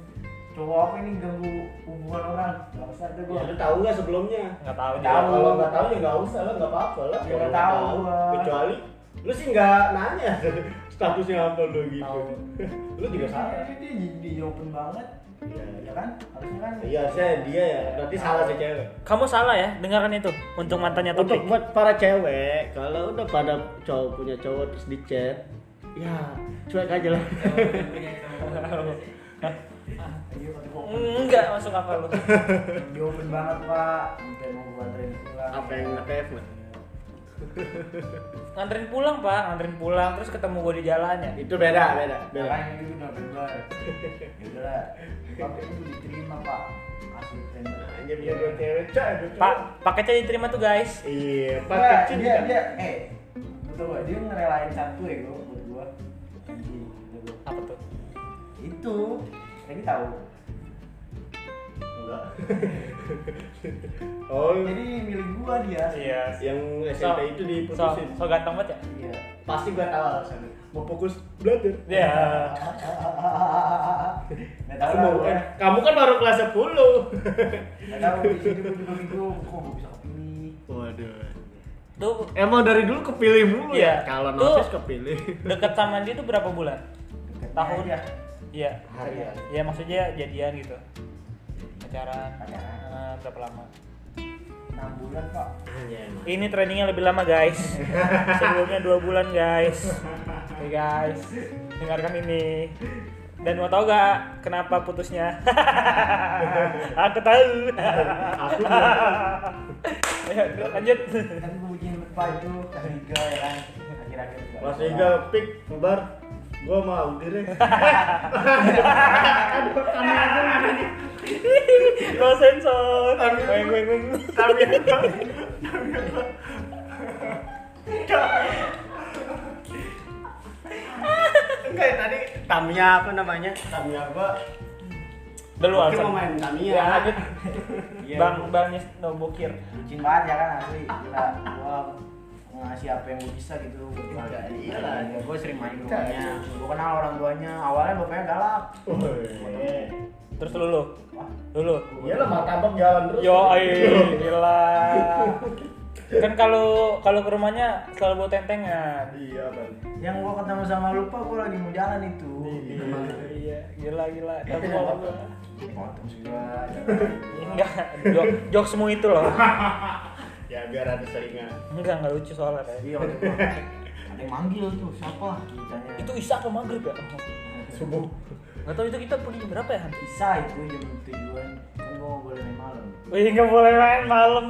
Speaker 3: cowok apa ini ganggu hubungan orang nggak usah deh
Speaker 1: Ya,
Speaker 3: gua
Speaker 1: lu tahu nggak sebelumnya?
Speaker 2: nggak tahu
Speaker 3: Tahu.
Speaker 2: juga
Speaker 1: Kalau nggak tahu ya nggak usah lah, nggak apa-apa lah.
Speaker 3: Ya,
Speaker 1: Kalau
Speaker 3: nggak
Speaker 1: nggak
Speaker 3: tahu, Bang.
Speaker 1: kecuali lu sih nggak nanya statusnya apa lu gitu. lu juga salah.
Speaker 3: Ini Iya, dia di, di open banget ya kan harusnya kan
Speaker 1: Iya, harusnya dia ya. Berarti salah sih cewek.
Speaker 2: kamu salah ya dengarkan itu untuk
Speaker 3: Ya,
Speaker 2: mantannya
Speaker 7: Untuk
Speaker 2: topik
Speaker 7: buat para cewek, kalau udah pada cowok punya cowok terus di chat, ya cuek aja lah.
Speaker 3: Ya. Iya, kata gua open.
Speaker 2: enggak masuk apa lu
Speaker 3: di open banget pak sampai mau gua anterin pulang
Speaker 7: apa yang nge-pavement?
Speaker 2: nganterin pulang pak nganterin pulang terus ketemu gue di jalan ya
Speaker 7: Itu beda, beda, beda.
Speaker 3: Makanya itu udah benar. Ya udah lah. Tapi itu diterima, Pak. Asli Iya. tender.
Speaker 1: Hanya punya Nah, dua cewek, cak. dua cowok.
Speaker 2: pak paketnya diterima tuh guys
Speaker 7: Iya,
Speaker 3: Pak,
Speaker 7: pakai
Speaker 3: dia,
Speaker 7: cinta.
Speaker 3: Nah, dia, dia, eh, betul gak? Dia ngerelain satu ya, gue, buat gua. Anjing, kata gua.
Speaker 2: apa tuh
Speaker 3: Itu, lagi tahu.
Speaker 1: Enggak. oh,
Speaker 3: Jadi milik gua dia.
Speaker 2: iya
Speaker 1: yang SMP itu
Speaker 2: so,
Speaker 1: diputusin.
Speaker 2: so ganteng banget ya
Speaker 3: Iya.
Speaker 1: Pasti gua tahu alasannya. Mau fokus belajar.
Speaker 2: Iya.
Speaker 3: Gak tahu
Speaker 1: Aku
Speaker 3: lah,
Speaker 1: mau
Speaker 3: gua.
Speaker 1: kan. Kamu kan baru kelas 10.
Speaker 3: Gak tahu di sini gua juga bingung. Kok gua bisa kepilih?
Speaker 7: Waduh.
Speaker 2: tuh
Speaker 7: Emang dari dulu kepilih mulu ya?
Speaker 2: Iya.
Speaker 7: Kalau
Speaker 2: Tuh.
Speaker 7: nosis kepilih.
Speaker 2: deket sama dia tuh berapa bulan
Speaker 3: Deketnya
Speaker 2: Tahun.
Speaker 3: aja.
Speaker 2: iya
Speaker 1: Harian.
Speaker 2: ya maksudnya jadian gitu pacaran
Speaker 3: Pacaran.
Speaker 2: Eh, berapa lama
Speaker 3: Enam bulan, Pak.
Speaker 1: Iya,
Speaker 2: ini trainingnya lebih lama guys sebelumnya dua bulan guys Oke guys dengarkan ini dan mau tahu gak kenapa putusnya aku tahu
Speaker 1: Aku belum.
Speaker 2: Ayo, lanjut
Speaker 3: Tapi gua bikin Pak itu kelas tiga ya kan. Akhir-akhir. juga.
Speaker 1: Mas Ega pik bubar. Gua mau diri.
Speaker 2: no sensor weng weng weng
Speaker 7: Enggak, tadi Tamia apa namanya?
Speaker 1: Kami apa?
Speaker 2: udah lu
Speaker 7: Mungkin
Speaker 2: alasan.
Speaker 7: mau main Tamia.
Speaker 2: Ya, lanjut
Speaker 7: Iya.
Speaker 2: bang bang no bokir
Speaker 3: bucin banget ya kan asli gila gua ngasih apa yang gua bisa gitu buat keluarga
Speaker 7: Iya lah.
Speaker 3: Ya, gua sering main ke
Speaker 7: Iya.
Speaker 3: rumahnya gua kenal orang tuanya awalnya bapaknya galak
Speaker 1: Woi.
Speaker 2: terus lu lu
Speaker 3: wah
Speaker 2: lu lu
Speaker 1: Eh, Iyalah martabak jalan terus.
Speaker 2: Yo, ay, gila. Kan kalau kalau ke rumahnya selalu bawa tentengan.
Speaker 1: Iya, Bang.
Speaker 3: yang gua ketemu sama lupa gua lagi mau jalan itu
Speaker 2: Iya, gila gila. Tapi
Speaker 3: Iya.
Speaker 2: kalau gua
Speaker 3: potong segala ya kan?
Speaker 2: enggak jok jok semua itu loh.
Speaker 1: Ya biar ada seringan.
Speaker 2: Enggak, enggak lucu soalnya. Ray.
Speaker 3: iya waktu gua ada yang manggil tuh siapa ditanya
Speaker 2: Itu Isa ke maghrib ya?
Speaker 1: Subuh.
Speaker 2: Enggak tahu itu kita pergi jam berapa ya? Han?
Speaker 3: bisa itu jam tujuan kan gua nggak boleh main malam
Speaker 2: Wih, enggak boleh main malam.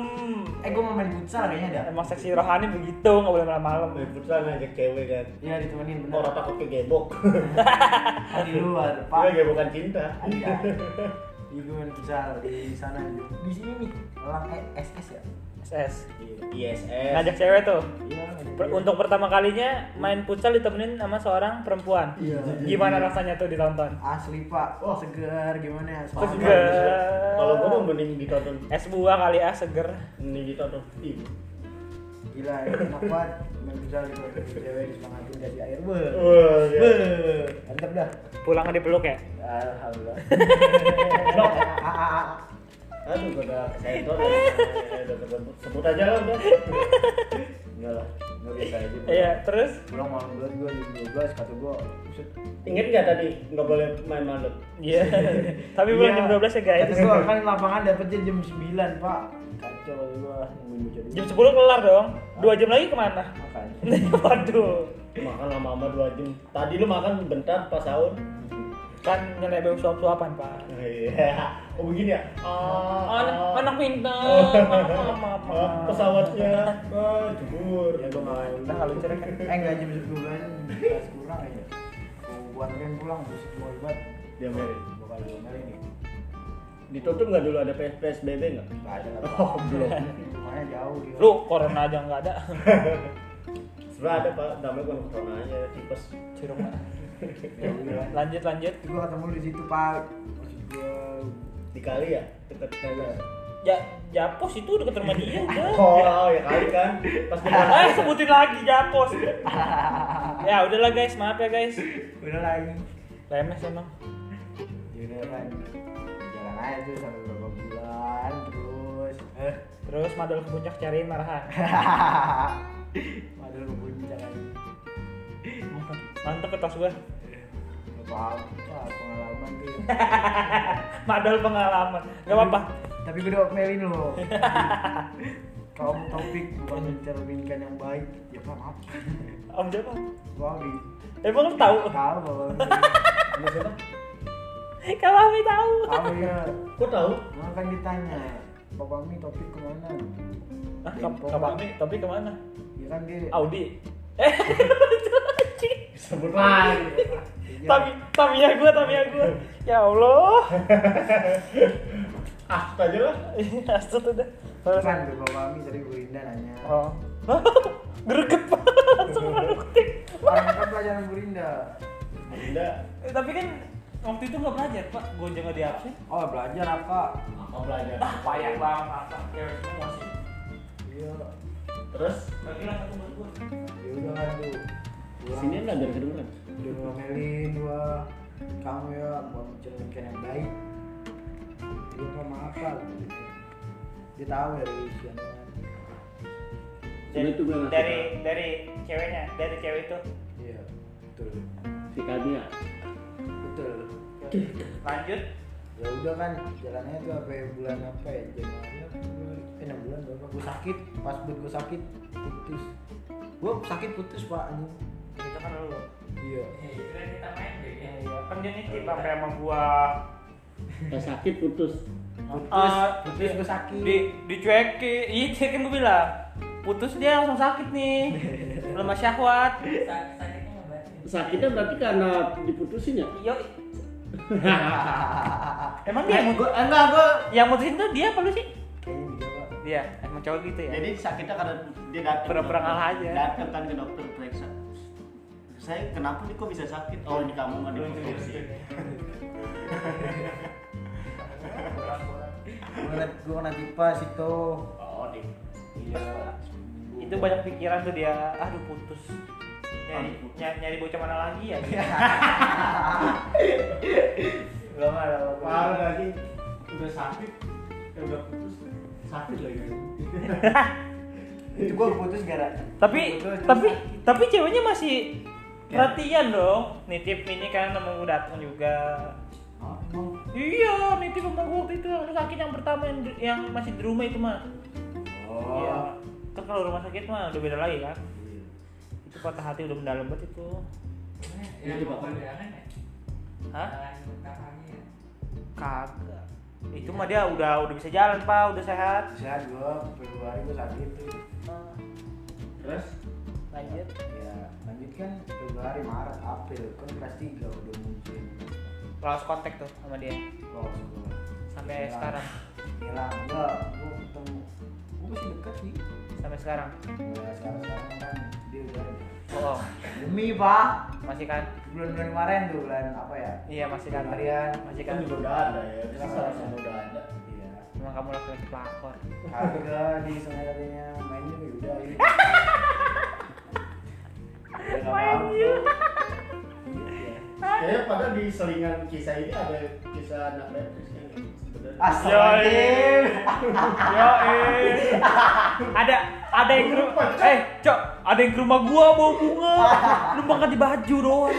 Speaker 3: eh gua mau main futsal kayaknya dah
Speaker 2: Emang seksi rohani begitu, enggak boleh main malam.
Speaker 1: Main futsal ngajak cewek kan.
Speaker 3: iya ditemenin
Speaker 1: Orang
Speaker 3: bener
Speaker 1: takut kegebok.
Speaker 3: di luar
Speaker 1: Gue
Speaker 3: pak
Speaker 1: gebekan cinta.
Speaker 3: Iya. Di Gunung Pucal di sana di sini nih Elang eh, SS ya.
Speaker 2: SS.
Speaker 7: ISS.
Speaker 2: Ngajak cewek tuh.
Speaker 3: Iya.
Speaker 2: Per- untuk pertama kalinya main futsal ditemenin sama seorang perempuan.
Speaker 3: Iya.
Speaker 2: Gimana rasanya tuh ditonton?
Speaker 3: Asli pak, wah seger gimana ya?
Speaker 1: Kok
Speaker 3: Soalnya
Speaker 2: seger?
Speaker 1: Iya. Kalau gue mau mending ditonton.
Speaker 2: Es buah kali ah seger.
Speaker 1: Mending ditonton. Ih.
Speaker 3: gila ya, enak banget. Main Pucal gitu, cewek disemangatin kasih air be.
Speaker 1: Wah, ya.
Speaker 3: Be, mantep dah.
Speaker 2: Pulangnya dipeluk ya.
Speaker 3: Alhamdulillah. Ah,
Speaker 1: Aduh, gue udah kesentor. ya. Eh, udah kesentor. Sebut aja lah udah.
Speaker 3: Enggak lah, enggak biasa aja.
Speaker 2: Iya, terus
Speaker 3: Pulang malam bulan gua jam 12 kata gua, buset.
Speaker 1: Ingat nggak tadi nggak boleh main malam?
Speaker 2: Iya. Tapi belum
Speaker 3: Iya.
Speaker 2: jam 12 ya guys.
Speaker 3: Kata gua kan lapangan dapetnya jam 9, Pak. Kacau kata gua nungguin bocah dulu.
Speaker 2: Jam 10 kelar dong. Dua jam lagi kemana?
Speaker 3: Makanya.
Speaker 2: Waduh.
Speaker 1: Makan lama-lama dua jam. Tadi lu makan bentar pas sahur.
Speaker 2: Kan nyelebeng suap-suapan pak.
Speaker 1: Iya. Oh begini ya. Ah,
Speaker 2: Anak,
Speaker 1: ah.
Speaker 2: anak pintar.
Speaker 1: Ah, pesawatnya ah, jebur.
Speaker 3: ya gue malah
Speaker 2: Kita nggak lucu kan?
Speaker 3: eh nggak jam sebulan pas kurang aja gue anterin pulang terus mau libat
Speaker 1: Dia merit.
Speaker 3: gue kali gue ini
Speaker 1: Ditutup nggak dulu ada PS PSBB nggak?
Speaker 3: nggak ada nggak
Speaker 1: Oh belum.
Speaker 3: rumahnya jauh gitu
Speaker 2: Lu corona aja nggak ada.
Speaker 1: Sebenarnya ada pak, namanya bukan corona aja, tipes.
Speaker 2: Cirung Pak.
Speaker 3: jauh gitu kan
Speaker 2: Lanjut lanjut.
Speaker 3: itu gue ketemu di situ pak maksud gue
Speaker 1: Dikali ya, dekat kayaknya.
Speaker 2: Ja, Japos itu deket rumah dia udah.
Speaker 1: Oh ya kali kan, pas di
Speaker 2: Eh sebutin lagi Japos. ya udahlah guys, maaf ya guys.
Speaker 3: udah lah ini
Speaker 2: Lemes emang.
Speaker 3: Ya udah kan aja tuh sampai beberapa bulan terus eh
Speaker 2: Terus madol ke puncak cariin marahan.
Speaker 3: padahal gue jangan
Speaker 2: Mantep ke tas gua.
Speaker 3: apa apa pengalaman tuh
Speaker 2: Madol pengalaman. Gak apa-apa.
Speaker 3: tapi gue udah melin loh kamu topik bukan mencerminkan yang baik ya maaf
Speaker 2: Om siapa?
Speaker 3: Wabi
Speaker 2: Emang lu kan tahu?
Speaker 3: tahu bahwa
Speaker 8: Ada siapa?
Speaker 2: Kalau Ami tahu.
Speaker 3: tahu ya
Speaker 8: Kok tahu?
Speaker 3: Nah, kan ditanya Bapak Mi topik kemana
Speaker 2: Ah, ke- ke Ami, tapi kemana?
Speaker 3: ya kan dia
Speaker 2: Audi. Eh,
Speaker 8: Sebut lagi.
Speaker 3: dia-
Speaker 2: Tapi, tapi ya gua, tapi ya gua. Ya Allah.
Speaker 8: Ah, suka aja lah.
Speaker 2: Astut udah.
Speaker 3: Bukan, Kan tuh, Bapak Mi tadi Bu Rinda nanya
Speaker 2: Oh. Greget banget langsung produktif.
Speaker 3: Orang kan pelajaran Bu Rinda
Speaker 8: Bunda,
Speaker 2: Eh, tapi kan waktu itu nggak belajar pak, gue juga di absen.
Speaker 3: Oh belajar apa?
Speaker 8: apa belajar?
Speaker 2: Ah, payah banget, apa cewek semua sih.
Speaker 3: Iya
Speaker 8: Terus,
Speaker 2: Lagi lah satu buat gue.
Speaker 3: Ya udah kan tuh Pulang.
Speaker 1: Sini belajar kedengeran.
Speaker 3: Udah ngomelin gua Kamu ya buat mencerminkan yang baik Dia kan maaf lah gitu. Dia tahu ya dari usianya
Speaker 1: Dari- Itu gua ngasih dari-
Speaker 2: dari ceweknya, dari cewek itu.
Speaker 3: Iya betul
Speaker 1: Si Kadia.
Speaker 3: Betul
Speaker 2: Lanjut.
Speaker 3: ya udah kan jalannya tuh apa ya, bulan apa ya Januari apa Februari? eh, enam bulan berapa gue sakit pas buat gue sakit putus gue sakit putus pak anjing
Speaker 2: Itu kan lu.
Speaker 3: iya
Speaker 2: Iya, iya. Kan dia nitip sampai sama gua.
Speaker 1: Pas sakit putus.
Speaker 3: putus
Speaker 2: Ah,
Speaker 3: putus gue sakit
Speaker 2: Di dicuekin, iya cuekin gue bilang. Putus dia langsung sakit nih. Lemah syahwat.
Speaker 1: Sakitnya berarti karena diputusin ya?
Speaker 2: Yo. Emang dia yang mut-
Speaker 3: Eh, enggak gue
Speaker 2: yang mutusin tuh dia apa lu sih?
Speaker 3: kayaknya dia pak
Speaker 2: Iya, emang cowok gitu ya.
Speaker 1: Jadi sakitnya karena dia datang.
Speaker 2: Pura-pura ngalah aja.
Speaker 1: Datang kan ke dokter periksa. Saya kenapa nih kok bisa sakit? Oh ini kamu nggak diputusin.
Speaker 3: gue kena gue kena tipas itu
Speaker 1: Oh nih.
Speaker 2: iya. itu banyak pikiran tuh dia aduh putus nyari
Speaker 1: Aduh, putus. Iya.
Speaker 2: nyari, nyari bocah mana lagi ya
Speaker 3: gak malah
Speaker 8: parah lagi. Udah sakit, ya udah putus. Sakit lagi.
Speaker 3: itu gue putus gara
Speaker 2: tapi
Speaker 3: Putus, terus
Speaker 2: tapi
Speaker 3: sakit.
Speaker 2: tapi ceweknya masih
Speaker 1: Iya.
Speaker 2: perhatian dong nitip ini kan sama gue datang juga
Speaker 3: Ah, emang?
Speaker 2: iya nitip sama gue waktu itu yang sakit yang pertama yang, di- yang masih di rumah itu mah
Speaker 3: oh
Speaker 2: iya kan kalau rumah sakit mah udah beda lagi kan
Speaker 1: Hmm.
Speaker 2: itu patah hati udah mendalam banget itu
Speaker 8: Iya,
Speaker 1: Ini bapak.
Speaker 8: ya.
Speaker 2: hah kagak itu mah dia udah udah bisa jalan pak udah sehat
Speaker 3: sehat gue Februari gue sakit tuh
Speaker 2: Ah,
Speaker 8: Terus,
Speaker 2: lanjut
Speaker 3: ya lanjut kan Februari Maret April kan kelas tiga udah muncul
Speaker 2: lost kontak tuh sama dia
Speaker 8: Oh,
Speaker 3: lolos gue
Speaker 2: sampai
Speaker 3: Hilang.
Speaker 2: sekarang
Speaker 3: hilang Iya. gua gua ketemu gua masih dekat sih
Speaker 2: sampai sekarang
Speaker 3: ya sekarang sekarang kan dia udah
Speaker 2: oh, oh.
Speaker 3: demi pak
Speaker 2: masih kan
Speaker 3: bulan-bulan kemarin tuh bulan apa ya
Speaker 2: iya masih kan
Speaker 3: Harian.
Speaker 2: masih
Speaker 8: kan
Speaker 2: kan
Speaker 8: juga udah ada ya. Terus, sama udah ada.
Speaker 3: iya
Speaker 2: emang kamu laki-laki pelakor
Speaker 3: harga di sana katanya mainnya ya udah ini ya nggak
Speaker 2: Mainnya. Iya.
Speaker 8: Kayaknya pada di selingan kisah ini ada kisah anak letis kan sebenarnya.
Speaker 2: Ah.
Speaker 3: Astagfirullahaladzim
Speaker 2: yo eh ada ada yang ke rumah eh cok ada yang ke rumah gua bawa bunga lu makan di baju doang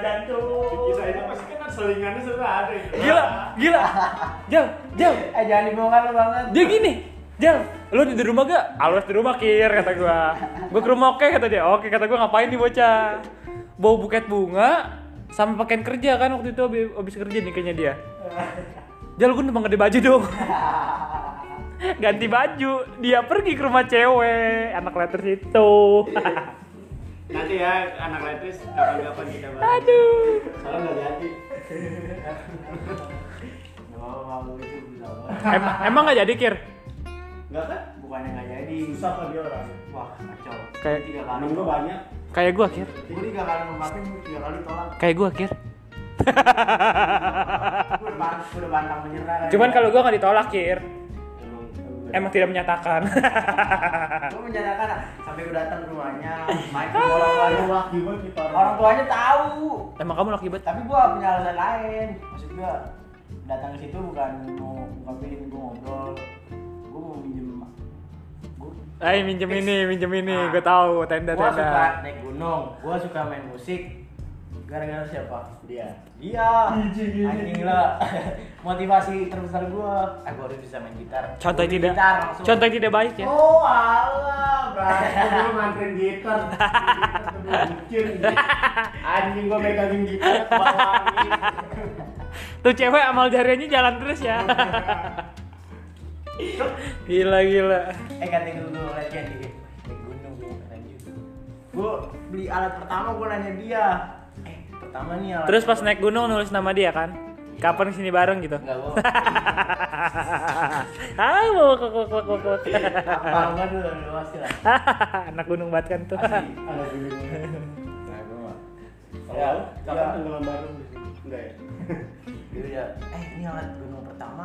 Speaker 8: Di kisah itu pasti kan selingannya sudah ada.
Speaker 1: gitu.
Speaker 8: itu.
Speaker 2: gila gila jal jal
Speaker 3: eh jangan dibongkar lu banget
Speaker 2: dia gini Jal, lu di rumah gak? Alus di rumah kir kata gua. Gua ke rumah oke kata dia. Oke kata gua ngapain nih bocah? Bawa buket bunga sama pakaian kerja kan waktu itu abi- abis kerja nih kayaknya dia. Jal gua numpang ganti baju dong. ganti baju, dia pergi ke rumah cewek, anak letters itu.
Speaker 1: Nanti ya anak letis kapan-kapan kita bahas.
Speaker 2: Aduh.
Speaker 1: Soalnya nggak jadi.
Speaker 3: oh malu itu bisa banget
Speaker 2: Em emang gak jadi kir?
Speaker 1: Nggak kan?
Speaker 3: bukannya nggak jadi
Speaker 8: Susah apa dia orang?
Speaker 3: wah kacau
Speaker 2: Kayak-
Speaker 3: tiga kali
Speaker 1: Anak gua banyak.
Speaker 2: Kayak gua kir.
Speaker 3: gue tiga kali memakai gue tiga kali tolak
Speaker 2: Kayak gua kir.
Speaker 3: gue udah bantang gue udah bantang menyerah
Speaker 2: Cuman kalau gua nggak ditolak kir,
Speaker 1: Emang.
Speaker 2: emang tidak menyatakan. Ah.
Speaker 3: gue menyerahkan sampai gue datang ke rumahnya main ke bola bola rumah
Speaker 8: Gimana kita
Speaker 3: orang tuanya tahu
Speaker 2: emang kamu laki banget.
Speaker 3: tapi gue punya alasan lain maksud gue datang ke situ bukan mau ngungkapin gue ngobrol gue mau minjem gue
Speaker 2: Eh minjem ini, minjem ini,
Speaker 3: Ah.
Speaker 2: gue tahu tenda
Speaker 3: gue suka
Speaker 2: tenda.
Speaker 3: naik gunung gue suka main musik gara-gara siapa dia dia anjing lah motivasi terbesar gue ah gue harus bisa main gitar
Speaker 2: Contoh
Speaker 3: Gua beli
Speaker 2: tidak,
Speaker 3: gitar langsung.
Speaker 2: contoh tidak baik ya.
Speaker 1: Oh alah, berarti gue nganterin gitar. Gitar kedua bucin. Anjing gue megangin gitar kebawangin.
Speaker 2: Tuh cewek amal jariannya jalan terus ya.
Speaker 3: Oh.
Speaker 2: gila gila.
Speaker 3: eh ganti dulu dulu latihan dikit naik gunung gue lanjut gue beli alat pertama gue nanya dia eh pertama nih alat
Speaker 2: Terus pas naik gunung nulis nama dia kan. Kapan kesini bareng gitu?
Speaker 3: enggak gue
Speaker 2: ah, bawa kok kok kok kok, kok.
Speaker 3: apa gue dulu dulu pasti lah
Speaker 2: Anak gunung banget kan tuh.
Speaker 3: Asli.
Speaker 1: Ada gunungnya.
Speaker 3: nah gue mah
Speaker 1: Kalau
Speaker 3: ya
Speaker 1: lu, kapan
Speaker 3: ya
Speaker 1: tenggelam baru? Enggak ya?
Speaker 3: dia udah eh ini alat gunung pertama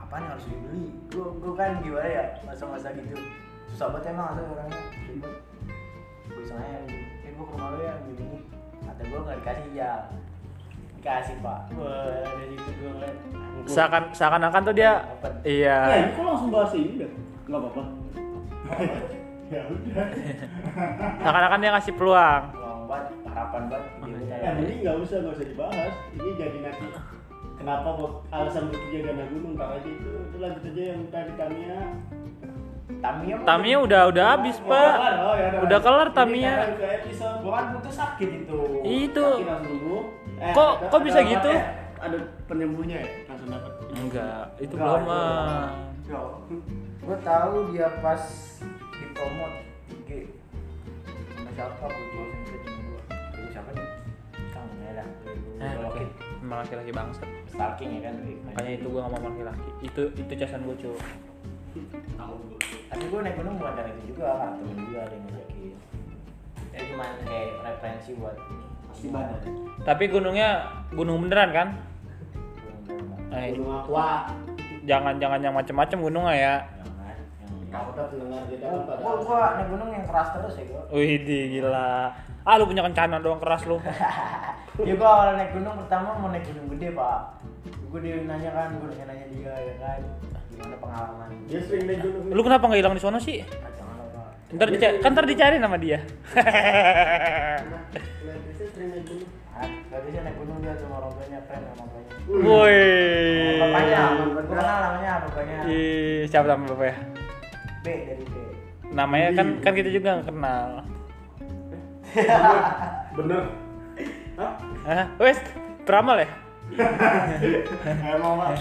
Speaker 3: apa nih harus dibeli gue gue kan gimana ya masa-masa gitu susah banget emang atau orangnya ribet gue iseng aja eh gue ke rumah lu ya gini gini kata gue nggak dikasih ya dikasih pak wah dari situ gue ngeliat
Speaker 2: Seakan seakan-akan tuh dia
Speaker 1: Eh,
Speaker 2: iya.
Speaker 1: kok langsung bahas ini dah? Enggak apa-apa. Ya udah.
Speaker 2: Seakan-akan dia ngasih peluang.
Speaker 3: peluang banget harapan banget gitu
Speaker 1: Yang ini nggak usah nggak usah dibahas. Ini jadi nanti kenapa buat alasan bekerja dana gunung ntar aja itu itu lanjut aja yang tadi Tamiya.
Speaker 3: Tamiya mah-
Speaker 2: Tamiya udah udah habis,
Speaker 1: Oh,
Speaker 2: Pak.
Speaker 1: kelar. Oh, ya udah.
Speaker 2: Udah kelar
Speaker 1: Ini
Speaker 2: Tamiya.
Speaker 1: karena udah episode.
Speaker 3: Gua kan putus sakit itu
Speaker 2: Itu
Speaker 1: Sakit langsung sembuh. Eh,
Speaker 2: Kok-
Speaker 1: ada-
Speaker 2: kok bisa
Speaker 1: ada-
Speaker 2: gitu?
Speaker 1: eh, Ada penyembuhnya ya langsung dapat.
Speaker 2: enggak, itu
Speaker 3: Enggak,
Speaker 2: belum
Speaker 3: itu
Speaker 2: ah.
Speaker 9: gue tahu dia pas di promote IG sama siapa gue jelasin ke temen gue
Speaker 3: Aduh, siapa nih kamu ya lah
Speaker 2: Eh, oke.
Speaker 3: oke
Speaker 2: Emang laki-laki bangsat.
Speaker 3: stalking ya kan
Speaker 2: Makanya itu gua gak mau laki-laki. Itu itu casan gua, cuy.
Speaker 3: tapi gue naik gunung bukan karena itu juga karena temen gue ada yang ngajakin
Speaker 2: Eh,
Speaker 3: ya cuma kayak referensi buat
Speaker 1: Pasti badan.
Speaker 2: Tapi gunungnya gunung beneran kan?
Speaker 3: gunung-gunung.
Speaker 2: Eh,
Speaker 1: Gunung Aqua.
Speaker 2: jangan-jangan yang macem-macem gunungnya ya.
Speaker 3: Jangan,
Speaker 1: Kamu
Speaker 3: yang-
Speaker 1: udah pendengar dia
Speaker 3: Gua-
Speaker 1: dapat
Speaker 3: gua
Speaker 1: pada.
Speaker 3: gua naik gunung yang keras terus ya gue
Speaker 2: Wih, gila. Ah, lu punya kencana doang keras lu.
Speaker 3: ya gue awal naik gunung pertama mau naik gunung gede pak gue dia nanya kan gue nanya nanya dia ya kan gimana pengalaman
Speaker 1: Dia sering naik gunung.
Speaker 2: Lu kenapa nggak hilang di sono sih?
Speaker 3: Ah, jangan lah, Pak.
Speaker 2: Ntar dicari, kan ntar dicari nama dia.
Speaker 1: Nah, dia sering naik gunung.
Speaker 3: Ah, tadi saya naik gunung dia sama orang tuanya keren sama bapaknya
Speaker 2: Woi.
Speaker 3: bapaknya gue kenal namanya bapaknya
Speaker 2: eh. Ih, siapa nama bapak ya?
Speaker 3: B dari B
Speaker 2: Namanya kan kan kita juga nggak kenal.
Speaker 1: Bener. Hah?
Speaker 2: Hah? Wes, Pramal ya?
Speaker 1: Emang Pak.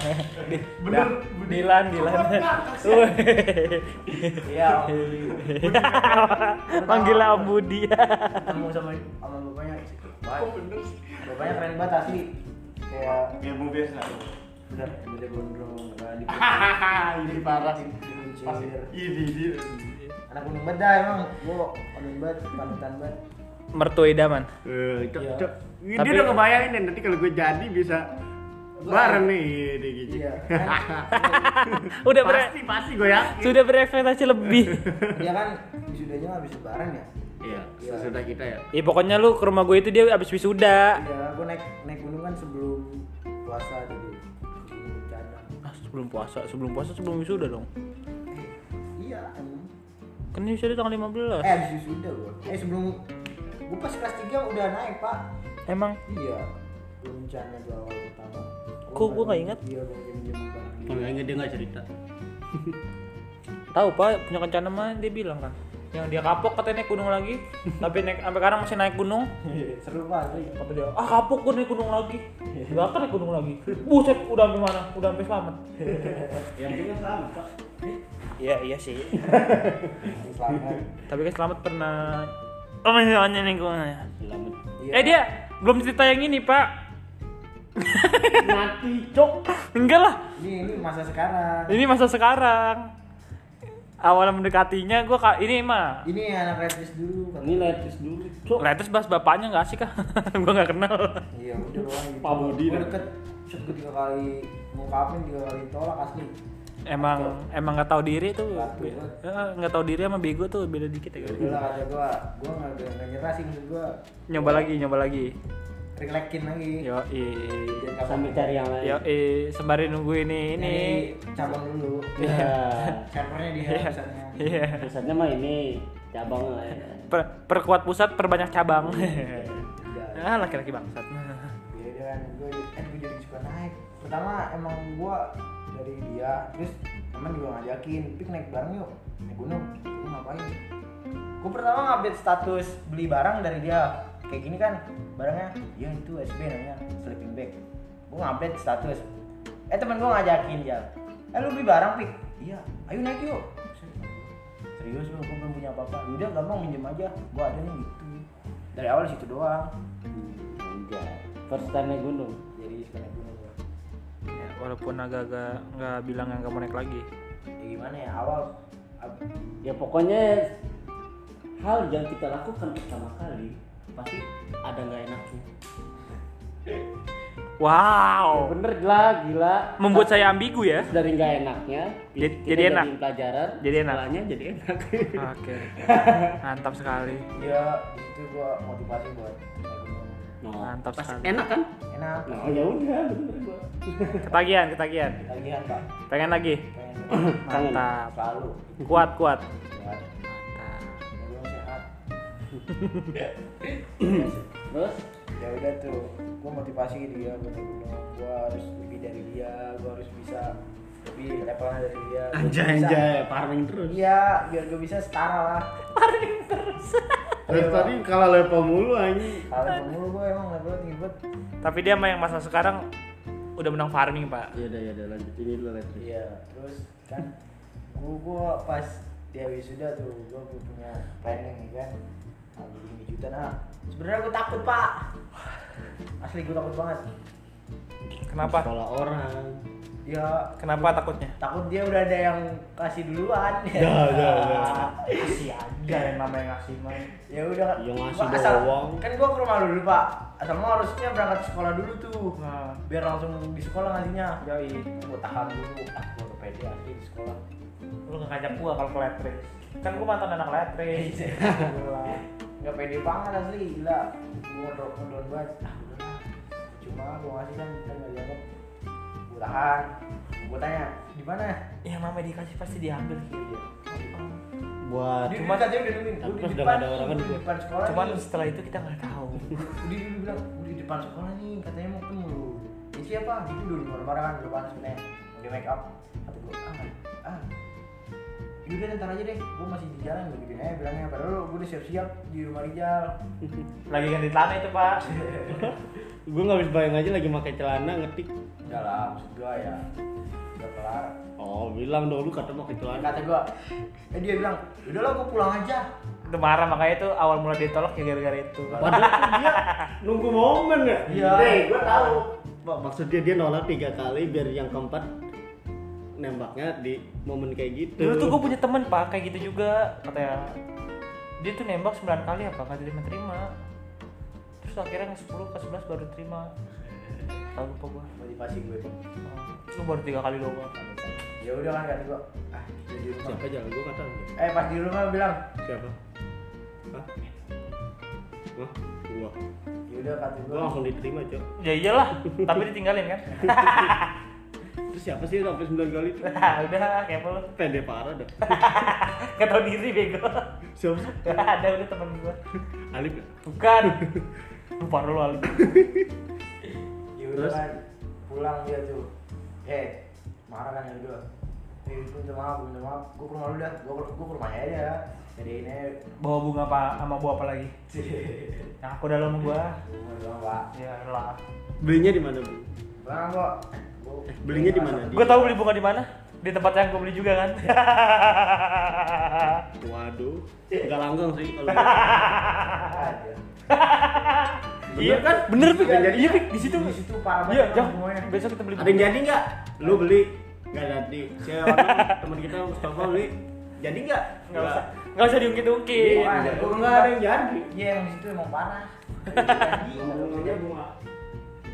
Speaker 1: Bener.
Speaker 2: Dilan, Dilan. Woi.
Speaker 3: iya Om.
Speaker 2: Manggil Om Budi.
Speaker 3: ketemu sama sama bapaknya
Speaker 1: Kok
Speaker 3: Baik.
Speaker 1: bener sih?
Speaker 3: bapaknya keren banget asli kayak
Speaker 1: Ya mau biasa.
Speaker 3: bener bener gondrong bener di
Speaker 1: Hahaha, ini parah. Pasti.
Speaker 3: diluncur
Speaker 1: Ini dia.
Speaker 3: anak gunung beda emang gua gunung banget panutan banget
Speaker 2: Mertua idaman.
Speaker 1: Eh, cok,
Speaker 3: Iya.
Speaker 1: cok. Ini
Speaker 2: Tapi-
Speaker 1: dia udah ngebayangin deh, nanti kalau gue jadi bisa bareng nih di gigi.
Speaker 3: iya
Speaker 9: kan?
Speaker 2: Udah ber
Speaker 1: pasti pasti gue yakin.
Speaker 2: sudah berekspektasi lebih.
Speaker 9: dia kan wisudanya habis lebaran ya
Speaker 1: Iya, sesudah kita ya.
Speaker 2: Ya pokoknya lu ke rumah gue itu dia abis wisuda.
Speaker 9: iya gue naik naik gunung kan sebelum puasa dulu sebelum cadang
Speaker 2: Ah, sebelum puasa, sebelum puasa sebelum wisuda dong.
Speaker 9: iya emang
Speaker 2: Kan ini wisuda tanggal 15.
Speaker 9: eh habis wisuda gue eh sebelum gue pas kelas 3 udah naik pak
Speaker 2: Emang
Speaker 9: iya belum cadang gue awal pertama
Speaker 2: Kok gua nggak ingat?
Speaker 9: iya gue minjem barang dia.
Speaker 1: Kayaknya dia nggak cerita.
Speaker 2: tahu Pak punya rencana mah dia bilang kan. Yang dia kapok katanya naik gunung lagi, tapi naik sampai sekarang masih naik gunung.
Speaker 9: seru banget Ri.
Speaker 2: Kata dia, ah kapok gue naik gunung lagi. Gak akan naik gunung lagi. Buset, udah sampai mana? Udah sampai selamat.
Speaker 1: Yang penting kan selamat, Pak.
Speaker 2: Iya iya sih.
Speaker 9: selamat
Speaker 2: tapi kan selamat pernah. Oh masih nanya nih gue.
Speaker 1: Selamat.
Speaker 9: Iya.
Speaker 2: Eh dia belum cerita yang ini Pak.
Speaker 1: Mati, cok.
Speaker 2: Enggak lah.
Speaker 9: ini ini masa sekarang
Speaker 2: Ini masa sekarang. Awal mendekatinya gue kak ini mah.
Speaker 9: ini anak retis dulu kan
Speaker 1: Ini letis dulu, cok.
Speaker 2: Letus bahas bapaknya nggak sih kak? gue nggak kenal.
Speaker 9: iya udah lah gitu.
Speaker 1: Pak Budi
Speaker 9: Gua
Speaker 1: dah.
Speaker 9: deket shoot gue tiga kali ngungkapin tiga kali tolak asli
Speaker 2: Emang emang nggak tahu diri tuh.
Speaker 9: Batu.
Speaker 2: Eh, Nggak tahu diri sama bego tuh
Speaker 1: Iya.
Speaker 2: beda dikit ya.
Speaker 9: udah lah kata gue gue nggak nggak nyerah sih menurut gue
Speaker 2: Nyoba lagi, nyoba lagi.
Speaker 5: relaxin lagi
Speaker 1: Iya.
Speaker 2: Yo
Speaker 5: Jangan
Speaker 1: sambil cari yang lain
Speaker 2: Yo sembari nunggu ini ini.
Speaker 5: ini cabang dulu
Speaker 1: ya
Speaker 5: servernya di
Speaker 2: Iya.
Speaker 5: misalnya
Speaker 2: Iya.
Speaker 1: pusatnya mah ini cabang lah ya.
Speaker 2: Per- perkuat pusat, perbanyak cabang.
Speaker 5: Ya.
Speaker 2: ah, laki-laki bangsat.
Speaker 5: Iya dia kan gue kan gue jadi suka naik. Pertama emang gue dari dia, terus teman juga ngajakin, pik naik bareng yuk, naik gunung. Gue ngapain?
Speaker 3: Gue pertama ngupdate status beli barang dari dia. Kayak gini kan, barangnya ya itu SB namanya, sleeping bag. Gue ngupdate status. Eh temen gue ngajakin ya. Eh lu beli barang pik? Iya, ayo naik yuk. Serius lu, gue belum punya apa-apa. Yaudah gampang minjem aja, gue ada nih gitu. Dari awal situ doang.
Speaker 1: Enggak. First time ya? naik gunung.
Speaker 3: Jadi suka naik gunung gua.
Speaker 2: Ya, walaupun agak-agak nggak bilang yang kamu naik lagi.
Speaker 3: Ya gimana ya, awal ab-
Speaker 1: Ya pokoknya hal yang kita lakukan pertama kali pasti ada nggak enaknya.
Speaker 2: Wow,
Speaker 1: Bener lah, gila.
Speaker 2: membuat saya ambigu ya.
Speaker 1: dari nggak enaknya
Speaker 2: Jadi-
Speaker 1: kita
Speaker 2: jadi enak.
Speaker 1: jadiin pelajaran
Speaker 2: Jadi enak.
Speaker 1: setelahnya jadi enak
Speaker 2: Oke, mantap sekali,
Speaker 3: ya di situ gue motivasi buat naik gunung.
Speaker 1: nah,
Speaker 2: mantap sekali.
Speaker 1: enak kan
Speaker 3: Enak,
Speaker 1: nah ya udah bener gua
Speaker 2: Ketagihan, ketagihan.
Speaker 3: tagihan kak,
Speaker 2: Pengen lagi?
Speaker 3: pengen
Speaker 1: Kangen.
Speaker 2: Mantap.
Speaker 3: selalu.
Speaker 2: Kuat, kuat.
Speaker 3: Ya,
Speaker 2: Mantap.
Speaker 3: naik gunung sehat.
Speaker 1: terus
Speaker 3: ya udah tuh gue motivasi dia buat naik gunung gue harus lebih dari dia gue harus bisa lebih levelnya dari dia Gua bisa-
Speaker 1: farming terus
Speaker 3: iya biar gue bisa setara lah
Speaker 6: Terus
Speaker 1: Iya,
Speaker 6: tadi kalah level mulu anjing.
Speaker 3: kalau dulu gue emang levelnya tinggi banget
Speaker 2: Tapi dia sama yang masa sekarang udah menang farming pak.
Speaker 1: ya udah ya udah lanjut ini dulu lanjut
Speaker 3: iya terus kan gue gue pas dia wisuda tuh gue punya planning nih kan ah, beli lima jutaan ah sebenarnya gue takut pak asli gue takut banget
Speaker 2: Kenapa?
Speaker 1: sekolah orang
Speaker 3: ya
Speaker 2: Kenapa takutnya?
Speaker 3: takut dia udah ada yang kasih duluan
Speaker 6: Ya, ya, ya.
Speaker 3: kasih aja yang namanya ngasih mah ya udah
Speaker 1: Ya,
Speaker 3: gua
Speaker 1: ngasih
Speaker 3: asal-
Speaker 1: doang.
Speaker 3: kan gua ke rumah dulu pak asal mau harusnya berangkat sekolah dulu tuh
Speaker 2: Nah,
Speaker 3: biar langsung di sekolah ngasihnya
Speaker 2: yoi.
Speaker 3: gua tahan dulu ah gua udah pede asli di sekolah
Speaker 2: Lu nggak ngajak gua kalau ke letris. Kan gua mantan anak letris. Gila.
Speaker 3: nggak pede banget asli gila gua drop down banget ah udah lah cuma gua ngasih kan kan nggak dianggap gua tahan gua tanya di mana
Speaker 2: Ya mama dikasih pasti diambil gitu.
Speaker 1: buat
Speaker 3: Dia-
Speaker 2: Cuman-
Speaker 3: dia katanya udah nungguin,
Speaker 1: Tapi
Speaker 3: "Gua
Speaker 1: pas
Speaker 3: di
Speaker 1: Ah, udah
Speaker 3: depan
Speaker 1: nggak ada orang
Speaker 3: nih,
Speaker 1: kan
Speaker 3: gua di
Speaker 1: gua-
Speaker 3: depan sekolah
Speaker 2: Cuman
Speaker 3: nih."
Speaker 2: setelah itu kita nggak tahu.
Speaker 3: Budi dulu bilang, Budi di depan sekolah nih, katanya mau ketemu lu. Ya siapa? Gitu dulu, marah-marah kan, udah panas sebenernya. Mau di make up. Kata gue, ah, ah. Yaudah ntar aja deh, gue masih di jalan, gue gituin aja bilangnya. Padahal gue udah siap-siap di rumah Rijal.
Speaker 2: Lagi ganti celana itu pak.
Speaker 1: gue nggak bisa bayang aja lagi pakai celana ngetik
Speaker 3: Udah lah, maksud gue ya. Udah kelar.
Speaker 1: oh bilang dong lu kata pakai celana
Speaker 3: Kata gue, eh dia bilang, yaudah lah gue pulang aja.
Speaker 2: Itu marah makanya itu awal mula ditolak ya gara-gara itu.
Speaker 1: padahal kan dia nunggu momen ya
Speaker 3: Iya.
Speaker 1: Nih, gua tahu Mak- maksud dia dia nolak tiga kali biar yang keempat nembaknya di momen kayak gitu
Speaker 2: Dulu tuh gue punya temen pak kayak gitu juga katanya dia tuh nembak 9 kali apa nggak terima terima terus akhirnya yang 10 ke 11 baru terima tahu lupa gue
Speaker 3: Motivasi gue.
Speaker 2: lu baru tiga kali doang
Speaker 3: Ya udah kan kata gue, ah, udah di rumah.
Speaker 1: siapa aja gue kata
Speaker 3: Eh pas di rumah bilang,
Speaker 1: siapa Hah? Hah? Gua.
Speaker 3: yaudah "Ya kata
Speaker 1: Gua
Speaker 3: gue.
Speaker 1: langsung diterima, Cok.
Speaker 2: ya iyalah tapi ditinggalin kan
Speaker 1: Terus siapa sih sampai 9 kali itu?
Speaker 2: Nah, udah kayak lu
Speaker 1: Pede parah dah.
Speaker 2: gak tau diri bego
Speaker 1: Siapa sih?
Speaker 2: Gak ada udah temen gue
Speaker 1: Alif ya?
Speaker 2: bukan lupa lu Ali
Speaker 3: Ya udah kan pulang dia tuh. Eh, marah kan dari gue. Eh, gue minta maaf, gue minta maaf. Gue ke rumah lu dah, gue ke, gue ke rumahnya aja ya. Jadi ini,
Speaker 2: bawa bunga apa sama buah apa lagi nah aku dalam gua
Speaker 3: gue bilang pak,
Speaker 2: ya lah
Speaker 1: Belinya di mana, Bu?
Speaker 3: bang kok. Gua-
Speaker 1: Eh, belinya di mana? Di-
Speaker 2: Gue tahu beli bunga di mana? Di tempat yang gue beli juga kan.
Speaker 1: Waduh. Enggak langgeng sih kalau.
Speaker 3: Aja.
Speaker 2: iya kan? Bener pik.
Speaker 3: Iya,
Speaker 2: Iya pik di situ.
Speaker 3: Di situ parah banget
Speaker 2: Iya,
Speaker 3: emang
Speaker 2: jangan.
Speaker 3: semuanya.
Speaker 2: Besok kita beli
Speaker 1: Ada yang jadi enggak? Lu beli? Enggak jadi. Saya orang teman kita Mustafa beli. Jadi enggak?
Speaker 2: Enggak usah. Enggak usah diungkit-ungkit.
Speaker 3: Iya.
Speaker 1: Ada. Gua enggak ada yang jadi.
Speaker 3: Iya, yang di situ emang parah. Jadi,
Speaker 1: bunga.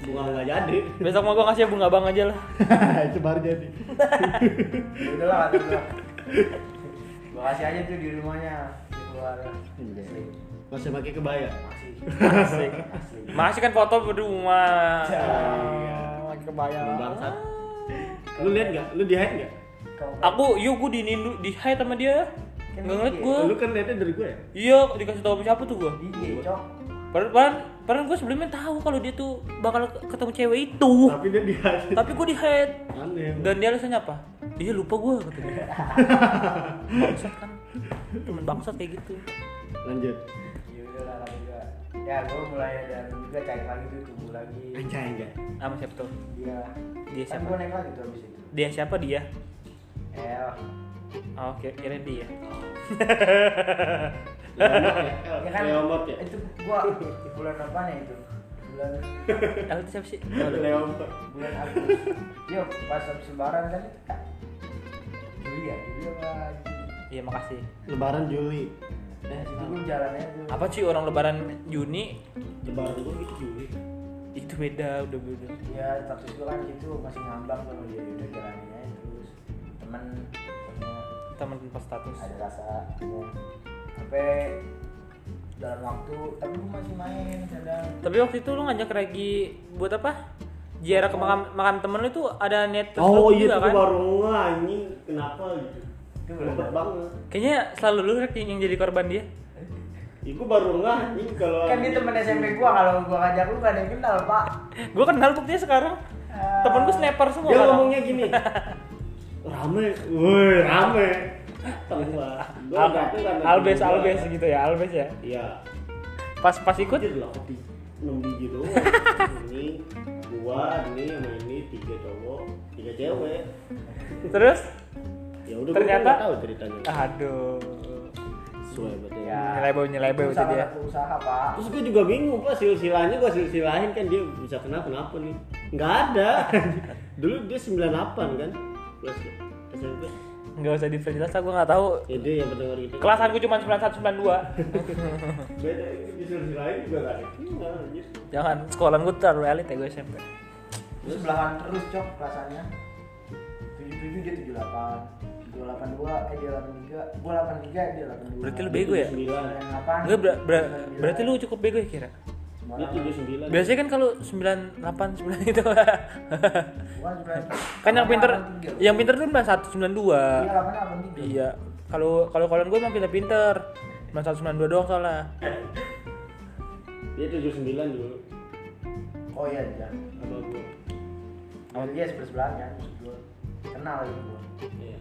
Speaker 1: Bunga enggak jadi.
Speaker 2: Besok mau gue kasih bunga bang aja lah.
Speaker 1: Itu baru jadi.
Speaker 3: ya udah lah kata gue. Gue kasih aja tuh di rumahnya. Gue keluar
Speaker 2: Iya.
Speaker 1: Masih pakai kebaya.
Speaker 3: masih
Speaker 1: Asik.
Speaker 2: Masih kan foto berdua. Iya. Ah. Lagi
Speaker 1: Lu
Speaker 2: kebayang.
Speaker 1: Bangsat. Lu lihat nggak? Lu dihain nggak?
Speaker 2: Aku, yuk gue dinindu, di hide sama dia. Nggak ngeliat gue.
Speaker 1: Lu kan lihatnya dari gue ya.
Speaker 2: Iya, dikasih tahu sama siapa tuh gue.
Speaker 3: iya cok
Speaker 2: Padahal, padahal, padahal gue sebelumnya tahu kalau dia tuh bakal ketemu cewek itu.
Speaker 1: Tapi dia dihain.
Speaker 2: Tapi gue di hide.
Speaker 1: Aneh.
Speaker 2: Dan dia alasannya apa? Iya lupa gue katanya. bangsat kan. Temen bangsat kayak gitu.
Speaker 1: Lanjut.
Speaker 3: ya udah lah lama juga ya gue mulai dari juga cari lagi tuh tumbuh lagi
Speaker 1: Anjay enggak.
Speaker 2: Sama siapa tuh?
Speaker 3: dia
Speaker 2: Dia
Speaker 3: kan
Speaker 2: siapa?
Speaker 3: gue naik lagi tuh abis itu
Speaker 2: Dia siapa dia?
Speaker 3: el
Speaker 2: Oh, oke, kira dia.
Speaker 3: ya
Speaker 1: Leomot ya.
Speaker 3: kan
Speaker 1: Leomot ya.
Speaker 3: itu gue bulan apa nih itu bulan
Speaker 2: Aku tuh Eh, siapa sih?
Speaker 1: Leomot.
Speaker 3: bulan Agustus yuk pas habis lebaran kan itu Kak. Juli ya Juli apa
Speaker 2: Iya, makasih.
Speaker 1: Lebaran Juli.
Speaker 3: nah situ gue jalannya tuh
Speaker 2: Apa sih orang lebaran Juni
Speaker 1: Lebaran gue gitu Juli.
Speaker 2: itu beda, udah beda.
Speaker 3: ya status gue kan gitu masih ngambang sama dia udah jalaninnya aja terus temen temennya
Speaker 2: Temen tanpa status.
Speaker 3: ada rasa ya. sampai dalam waktu tapi gue masih main kadang
Speaker 2: Tapi waktu itu lu ngajak Regi buat apa? Ziarah ke makam, makam temen lu itu ada niat
Speaker 1: Oh
Speaker 2: terselubung
Speaker 1: iya
Speaker 2: juga, kan.
Speaker 1: tuh baru ngeh, anjing kenapa gitu. Lepet banget.
Speaker 2: Kayaknya selalu lu Rek, yang jadi korban dia.
Speaker 1: Ih, gua baru ngeh anjing kalau
Speaker 3: kan dia temen SMP gue kalau gue ngajak lu gak ada yang kenal pak
Speaker 2: Gue kenal buktinya sekarang. Temen gue sniper semua.
Speaker 1: Dia
Speaker 2: sekarang.
Speaker 1: ngomongnya gini. Rame, woi rame. Tambah. Gua
Speaker 2: Al-
Speaker 1: dateng karena
Speaker 2: albes
Speaker 1: temen gua.
Speaker 2: albes gitu ya, albes ya.
Speaker 1: Iya.
Speaker 2: Pas pas ikut
Speaker 1: Jadi lah kopi enam biji doang. Ini gua, ini sama ini tiga cowok, tiga cewek.
Speaker 2: terus
Speaker 1: Ya udah
Speaker 2: Ternyata- Ah.
Speaker 1: gua nggak tahu ceritanya.
Speaker 2: aduh.
Speaker 1: Sesuai betul.
Speaker 3: Ya.
Speaker 2: Nyelebau nyelebau itu
Speaker 3: usaha
Speaker 2: Eh, dia.
Speaker 3: aku usaha pak
Speaker 1: Terus gue juga bingung pak silsilahnya gue silsilahin kan dia bisa kenapa kenapa nih nggak ada dulu dia 98 kan plus SMP
Speaker 2: Enggak usah diperjelas lah gue enggak tahu.
Speaker 1: ya dia yang pendengar gitu
Speaker 2: Kelasan gue cuma 91 92.
Speaker 1: beda itu di silsilahin juga nggak ada Iya, anjir.
Speaker 2: Jangan sekolah gue terlalu elit ya gue SMP.
Speaker 3: terus belahan terus cok rasanya tujuh tujuh dia tujuh delapan dua delapan dua eh dia delapan tiga gue delapan tiga dia delapan dua
Speaker 2: Berarti lu bego ya?
Speaker 1: 79
Speaker 3: delapan
Speaker 2: Gue ber- ber- berarti lu cukup bego ya kira.
Speaker 1: dia 79
Speaker 2: Biasanya kan kalau 98 9 itu. kan
Speaker 3: kan
Speaker 2: yang pinter yang pinter tuh 91 92.
Speaker 3: Iya, delapan delapan tiga
Speaker 2: Iya, kalau kalau kalian gue emang pinter-pinter. 9192 doang soalnya.
Speaker 1: dia 79 dulu
Speaker 3: oh iya iya
Speaker 1: sama gue
Speaker 3: Awal dia sebelah sebelahan kan, maksud gua. kenal gitu gua.
Speaker 1: Iya.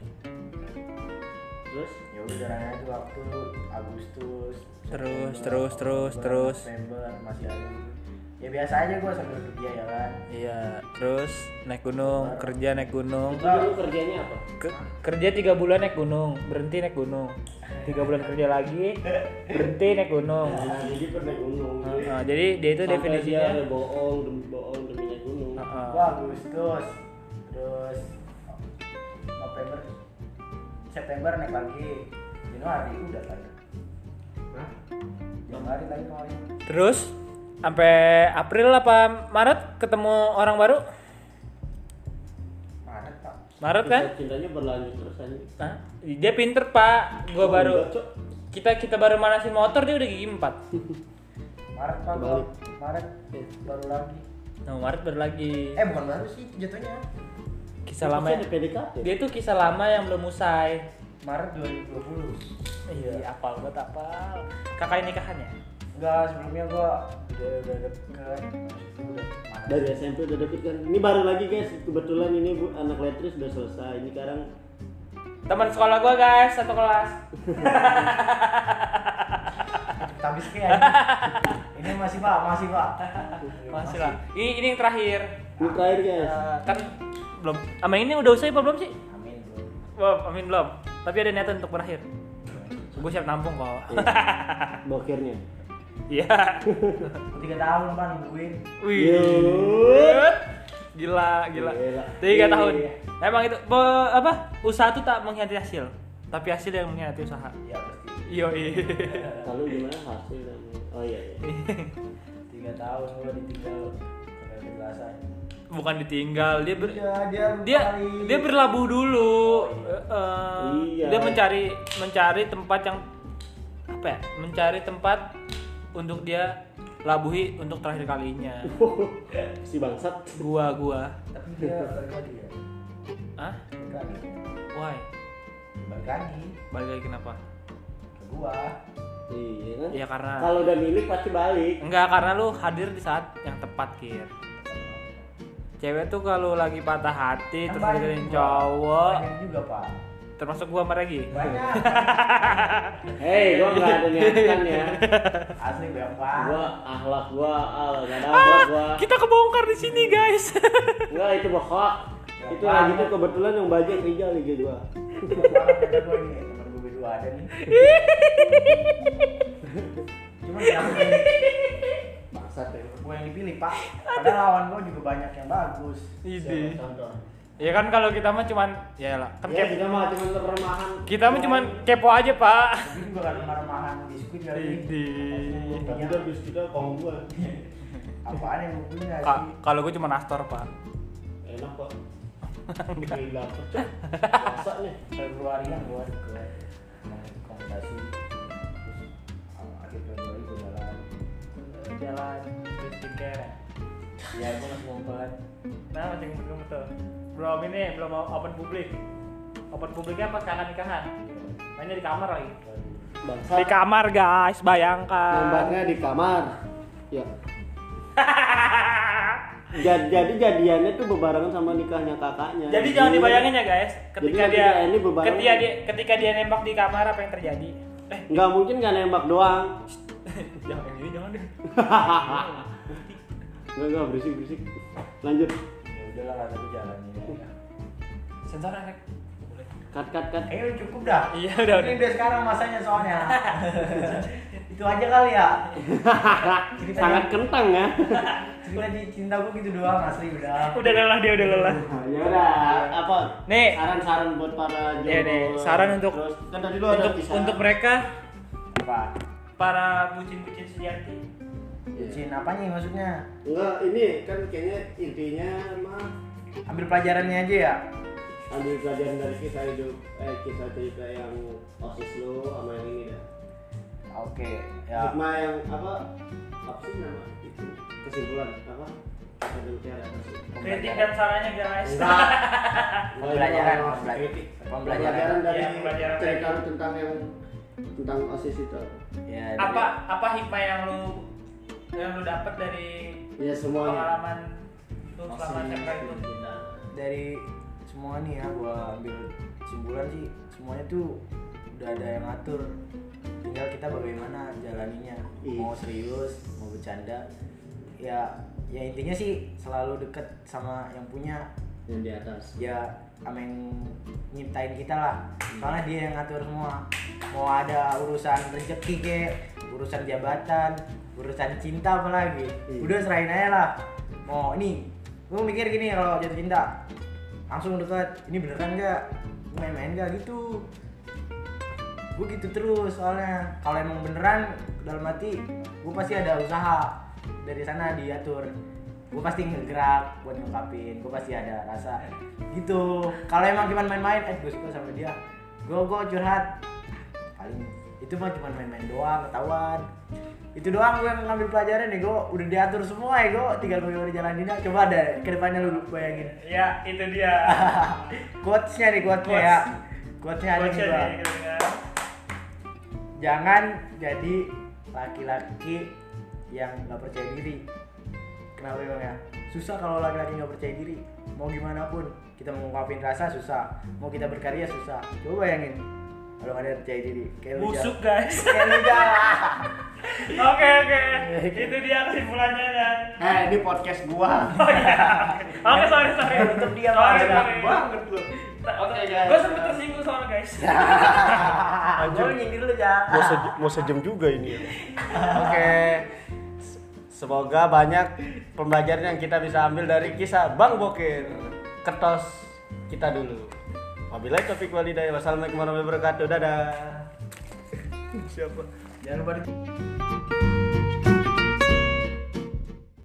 Speaker 1: terus
Speaker 3: Ya udah jalannya itu waktu Agustus.
Speaker 2: Terus,
Speaker 3: September,
Speaker 2: terus, terus,
Speaker 3: Oktober,
Speaker 2: terus.
Speaker 3: November masih ada. Ya biasa aja gua sambil kerja ya kan.
Speaker 2: Iya, terus naik gunung, kerja naik gunung.
Speaker 1: itu dulu kerjanya apa
Speaker 2: Ke- kerja tiga bulan naik gunung, berhenti naik gunung. Tiga bulan kerja lagi, berhenti naik gunung.
Speaker 1: nah jadi pernah gunung
Speaker 2: Nah, jadi dia itu
Speaker 1: Iya. Sampai dia
Speaker 2: definisinya. Ah,
Speaker 1: ada bohong demi bohong demi naik gunung
Speaker 2: Heeh.
Speaker 3: Gua Agustus. Terus November September naik lagi. Januari udah lagi. Januari lagi kemarin.
Speaker 2: Terus sampai April apa Maret ketemu orang baru?
Speaker 3: Maret Pak.
Speaker 2: Maret kan?
Speaker 1: Kisah cintanya berlanjut terus anjing
Speaker 2: Hah? Dia pinter pak, gua
Speaker 1: Iya. Oh,
Speaker 2: baru
Speaker 1: enggak, Cok.
Speaker 2: kita kita baru manasin motor dia udah gigi empat.
Speaker 3: Maret Pak.
Speaker 1: Kebalik. Iya.
Speaker 3: Maret baru lagi.
Speaker 2: Nah Maret baru lagi.
Speaker 3: Eh bukan baru sih jatuhnya.
Speaker 2: Kisah lama ya.
Speaker 1: Terus ada PDKT
Speaker 2: dia tuh kisah lama yang belum usai.
Speaker 3: Maret 2020.
Speaker 2: Iya, apal banget apal. Kakak nikahannya.
Speaker 3: Enggak, sebelumnya gua udah udah deket udah
Speaker 1: dari SMP udah deket kan ini baru lagi guys kebetulan ini bu anak letris udah selesai ini sekarang
Speaker 2: Teman sekolah gua guys, satu kelas.
Speaker 3: Tapi kayak ini masih Pak, masih Pak.
Speaker 2: Masih lah. Ini, ini yang terakhir.
Speaker 1: ini terakhir guys
Speaker 2: Eh, kan belum. Sama ini udah usai apa belum sih?
Speaker 3: Amin, Bro.
Speaker 2: Belum, amin belum. Tapi ada niatan untuk berakhir. Gue siap nampung kok.
Speaker 1: bokirnya
Speaker 2: Iya.
Speaker 3: Gua Tiga tahun Pak nungguin.
Speaker 2: Wih. Gila, gila.
Speaker 1: Gila. Iya.
Speaker 2: Tiga tahun. Emang itu be- apa? Usaha tuh tak mengkhianati hasil, tapi hasil yang mengkhianati usaha.
Speaker 3: Ya pasti.
Speaker 2: Yo, iya.
Speaker 1: kalau gimana hasil namanya? oh iya iya
Speaker 3: Tiga tahun gua ditinggal sampai penjelasan.
Speaker 2: bukan ditinggal dia ber-
Speaker 3: Iya, dia
Speaker 2: dia
Speaker 3: mencari-
Speaker 2: dia berlabuh dulu Eh, eh,
Speaker 1: Iya.
Speaker 2: dia mencari mencari tempat yang apa ya? Mencari tempat untuk dia labuhi untuk terakhir kalinya.
Speaker 1: si bangsat
Speaker 2: Gua gua.
Speaker 3: tapi dia balik lagi ya
Speaker 2: Hah?
Speaker 3: balik lagi
Speaker 2: Why?
Speaker 3: balik lagi
Speaker 2: Balik lagi kenapa?
Speaker 3: ke gua
Speaker 1: iya kan
Speaker 2: Ya karena
Speaker 1: kalau udah milik pasti balik
Speaker 2: enggak karena lu hadir di saat yang tepat, Kir. Cewek tuh kalau lagi patah hati terus
Speaker 3: Kan Banyak
Speaker 2: mikirin
Speaker 3: juga.
Speaker 2: cowok,
Speaker 3: banyak juga pak
Speaker 2: termasuk gua sama Regi.
Speaker 3: banyak
Speaker 1: hei gua nggak ada niatan ya
Speaker 3: asli berapa
Speaker 1: gua akhlak gua ah nggak ada akhlak gua
Speaker 2: Kita kebongkar di sini, guys.
Speaker 1: nggak itu bohong itu lagi tuh kebetulan yang bajak Rijal lagi gua
Speaker 3: kata gua ini temen gua berdua ada nih cuma kenapa ini?
Speaker 10: Bangsat ya.
Speaker 3: ya, gua yang dipilih pak padahal lawan gua juga banyak yang bagus
Speaker 2: Ide.
Speaker 10: Contoh.
Speaker 2: Ya kan kalau kita mah cuman ya lah, kan
Speaker 1: ya
Speaker 2: kep-
Speaker 1: kita mah cuma terremahan
Speaker 2: kita mah cuman kepo aja, Pak.
Speaker 3: Gua juga kan remah-remahan biskuit kali ini
Speaker 2: Ide.
Speaker 10: Tapi udah bis kita kaum gua.
Speaker 3: apaan yang gua punya
Speaker 2: Ka-
Speaker 3: sih
Speaker 2: kalau gue cuma Astor, Pak.
Speaker 10: Enak kok. Bikin lapar cok. Masak nih.
Speaker 3: Februarian gua ke rekomendasi terus uh, akhir Februari gua jalan
Speaker 2: Jalan terus skincare.
Speaker 3: ya gua masih ngumpet
Speaker 2: Nah, masih belum betul. Belum ini belum open publik. Open publiknya pas kakak nikahan. Mainnya di kamar lagi. Di
Speaker 1: bangsat
Speaker 2: kamar, guys. Bayangkan.
Speaker 1: gambarnya di kamar ya jadi, jadi jadiannya tuh berbarengan sama nikahnya kakaknya Iya.
Speaker 2: Jadi jangan dibayangin ya, guys. Ketika
Speaker 1: Jadi
Speaker 2: dia
Speaker 1: ketika ini bebarengan.
Speaker 2: ketika dia ketika dia nembak di kamar apa yang terjadi? Eh,
Speaker 1: nggak mungkin nggak nembak doang
Speaker 2: jangan yang ini jangan deh.
Speaker 1: nggak nggak berisik berisik lanjut
Speaker 3: ya udahlah kata gua jalan ini aja.
Speaker 2: Sensor enak. Boleh.
Speaker 1: cut cut cut
Speaker 3: kayaknya udah cukup dah
Speaker 2: Iya, udah,
Speaker 3: ini
Speaker 2: udah.
Speaker 3: udah sekarang masanya soalnya itu aja kali ya Ceritanya-
Speaker 1: sangat kentang ya
Speaker 3: cerita di cinta gua gitu doang asli udah
Speaker 2: Udah lelah dia, udah lelah.
Speaker 1: ya udah apa
Speaker 2: Nih.
Speaker 1: saran saran buat para jomblo
Speaker 2: Iya, nih. Saran untuk-
Speaker 1: Terus, kan tadi lu ada
Speaker 2: Untuk
Speaker 1: pisah.
Speaker 2: untuk mereka
Speaker 3: apa
Speaker 2: para bucin-bucin sejati
Speaker 1: Iya.
Speaker 3: Bucin apanya ya maksudnya
Speaker 1: enggak ini kan kayaknya intinya mah
Speaker 3: ambil pelajarannya aja ya
Speaker 1: ambil pelajaran dari kisah hidup eh kisah cerita yang osis lu sama yang ini dah
Speaker 3: oke ya
Speaker 1: hikmah yang apa apa sih nama itu kesimpulan apa ada mutiara apa sih
Speaker 2: kritik dan sarannya guys
Speaker 1: Iya.
Speaker 3: Pembelajaran,
Speaker 1: Enggak,
Speaker 3: pembelajaran.
Speaker 1: kritik.
Speaker 3: Pembelajaran.
Speaker 1: dari
Speaker 2: Iya, pembelajaran
Speaker 1: cerita lu tentang yang tentang osis itu
Speaker 3: ya
Speaker 2: apa apa hikmah yang lu yang lu dapat dari
Speaker 1: ya semuanya
Speaker 2: pengalaman lu selama cekra itu
Speaker 3: dari semua nih ya gua ambil kesimpulan sih semuanya tuh udah ada yang ngatur tinggal kita bagaimana jalaninya
Speaker 1: Iya.
Speaker 3: mau serius mau bercanda ya ya intinya sih selalu deket sama yang punya
Speaker 1: yang di atas
Speaker 3: ya sama yang nyiptain kita lah soalnya dia yang ngatur semua mau ada urusan rezeki ke urusan jabatan urusan cinta apalagi
Speaker 1: Iya.
Speaker 3: udah serahin aja lah mau ini lu mikir gini kalau jatuh cinta langsung dekat ini beneran gak Lu main-main gak gitu gue gitu terus soalnya kalau emang beneran dalam hati gue pasti ada usaha dari sana diatur gue pasti ngegerak buat ngungkapin gue pasti ada rasa gitu kalau emang cuma main-main eh gue suka sama dia gue gue curhat paling itu mah cuma main-main doang ketahuan itu doang gue yang ngambil pelajaran nih gue udah diatur semua ya gue tinggal bagaimana jalaninnya coba deh kedepannya lu bayangin
Speaker 2: ya itu dia
Speaker 3: quotesnya nih quotesnya ya quotesnya ada nih
Speaker 2: Coachnya
Speaker 3: gua.
Speaker 2: nih, gitu kan.
Speaker 3: jangan jadi laki-laki yang nggak percaya diri kenapa emang ya susah kalau laki-laki nggak percaya diri mau gimana pun kita mau ngungkapin rasa susah mau kita berkarya susah coba bayangin kalau nggak ada yang percaya diri kayak lu
Speaker 2: busuk
Speaker 3: Jal.
Speaker 2: guys
Speaker 3: kayak lu Jal.
Speaker 2: oke oke itu dia kesimpulannya dan
Speaker 1: eh ini podcast gua
Speaker 2: oke sorry sorry
Speaker 3: Tutup dia,
Speaker 2: sorry
Speaker 3: Bang.
Speaker 2: sorry
Speaker 1: banget lu
Speaker 2: oke
Speaker 1: guys.
Speaker 2: gue sempet tersinggung soalnya guys
Speaker 3: Ah, Gua nyindir lu Jal.
Speaker 1: mau, sejam, mau sejam juga ini ya. Oke. S- Semoga banyak pembelajaran yang kita bisa ambil dari kisah Bang Bokir. Ketos kita dulu. Wabillahi taufiq walhidayah. Wassalamualaikum warahmatullahi wabarakatuh. Dadah. Siapa?
Speaker 3: jangan lupa di-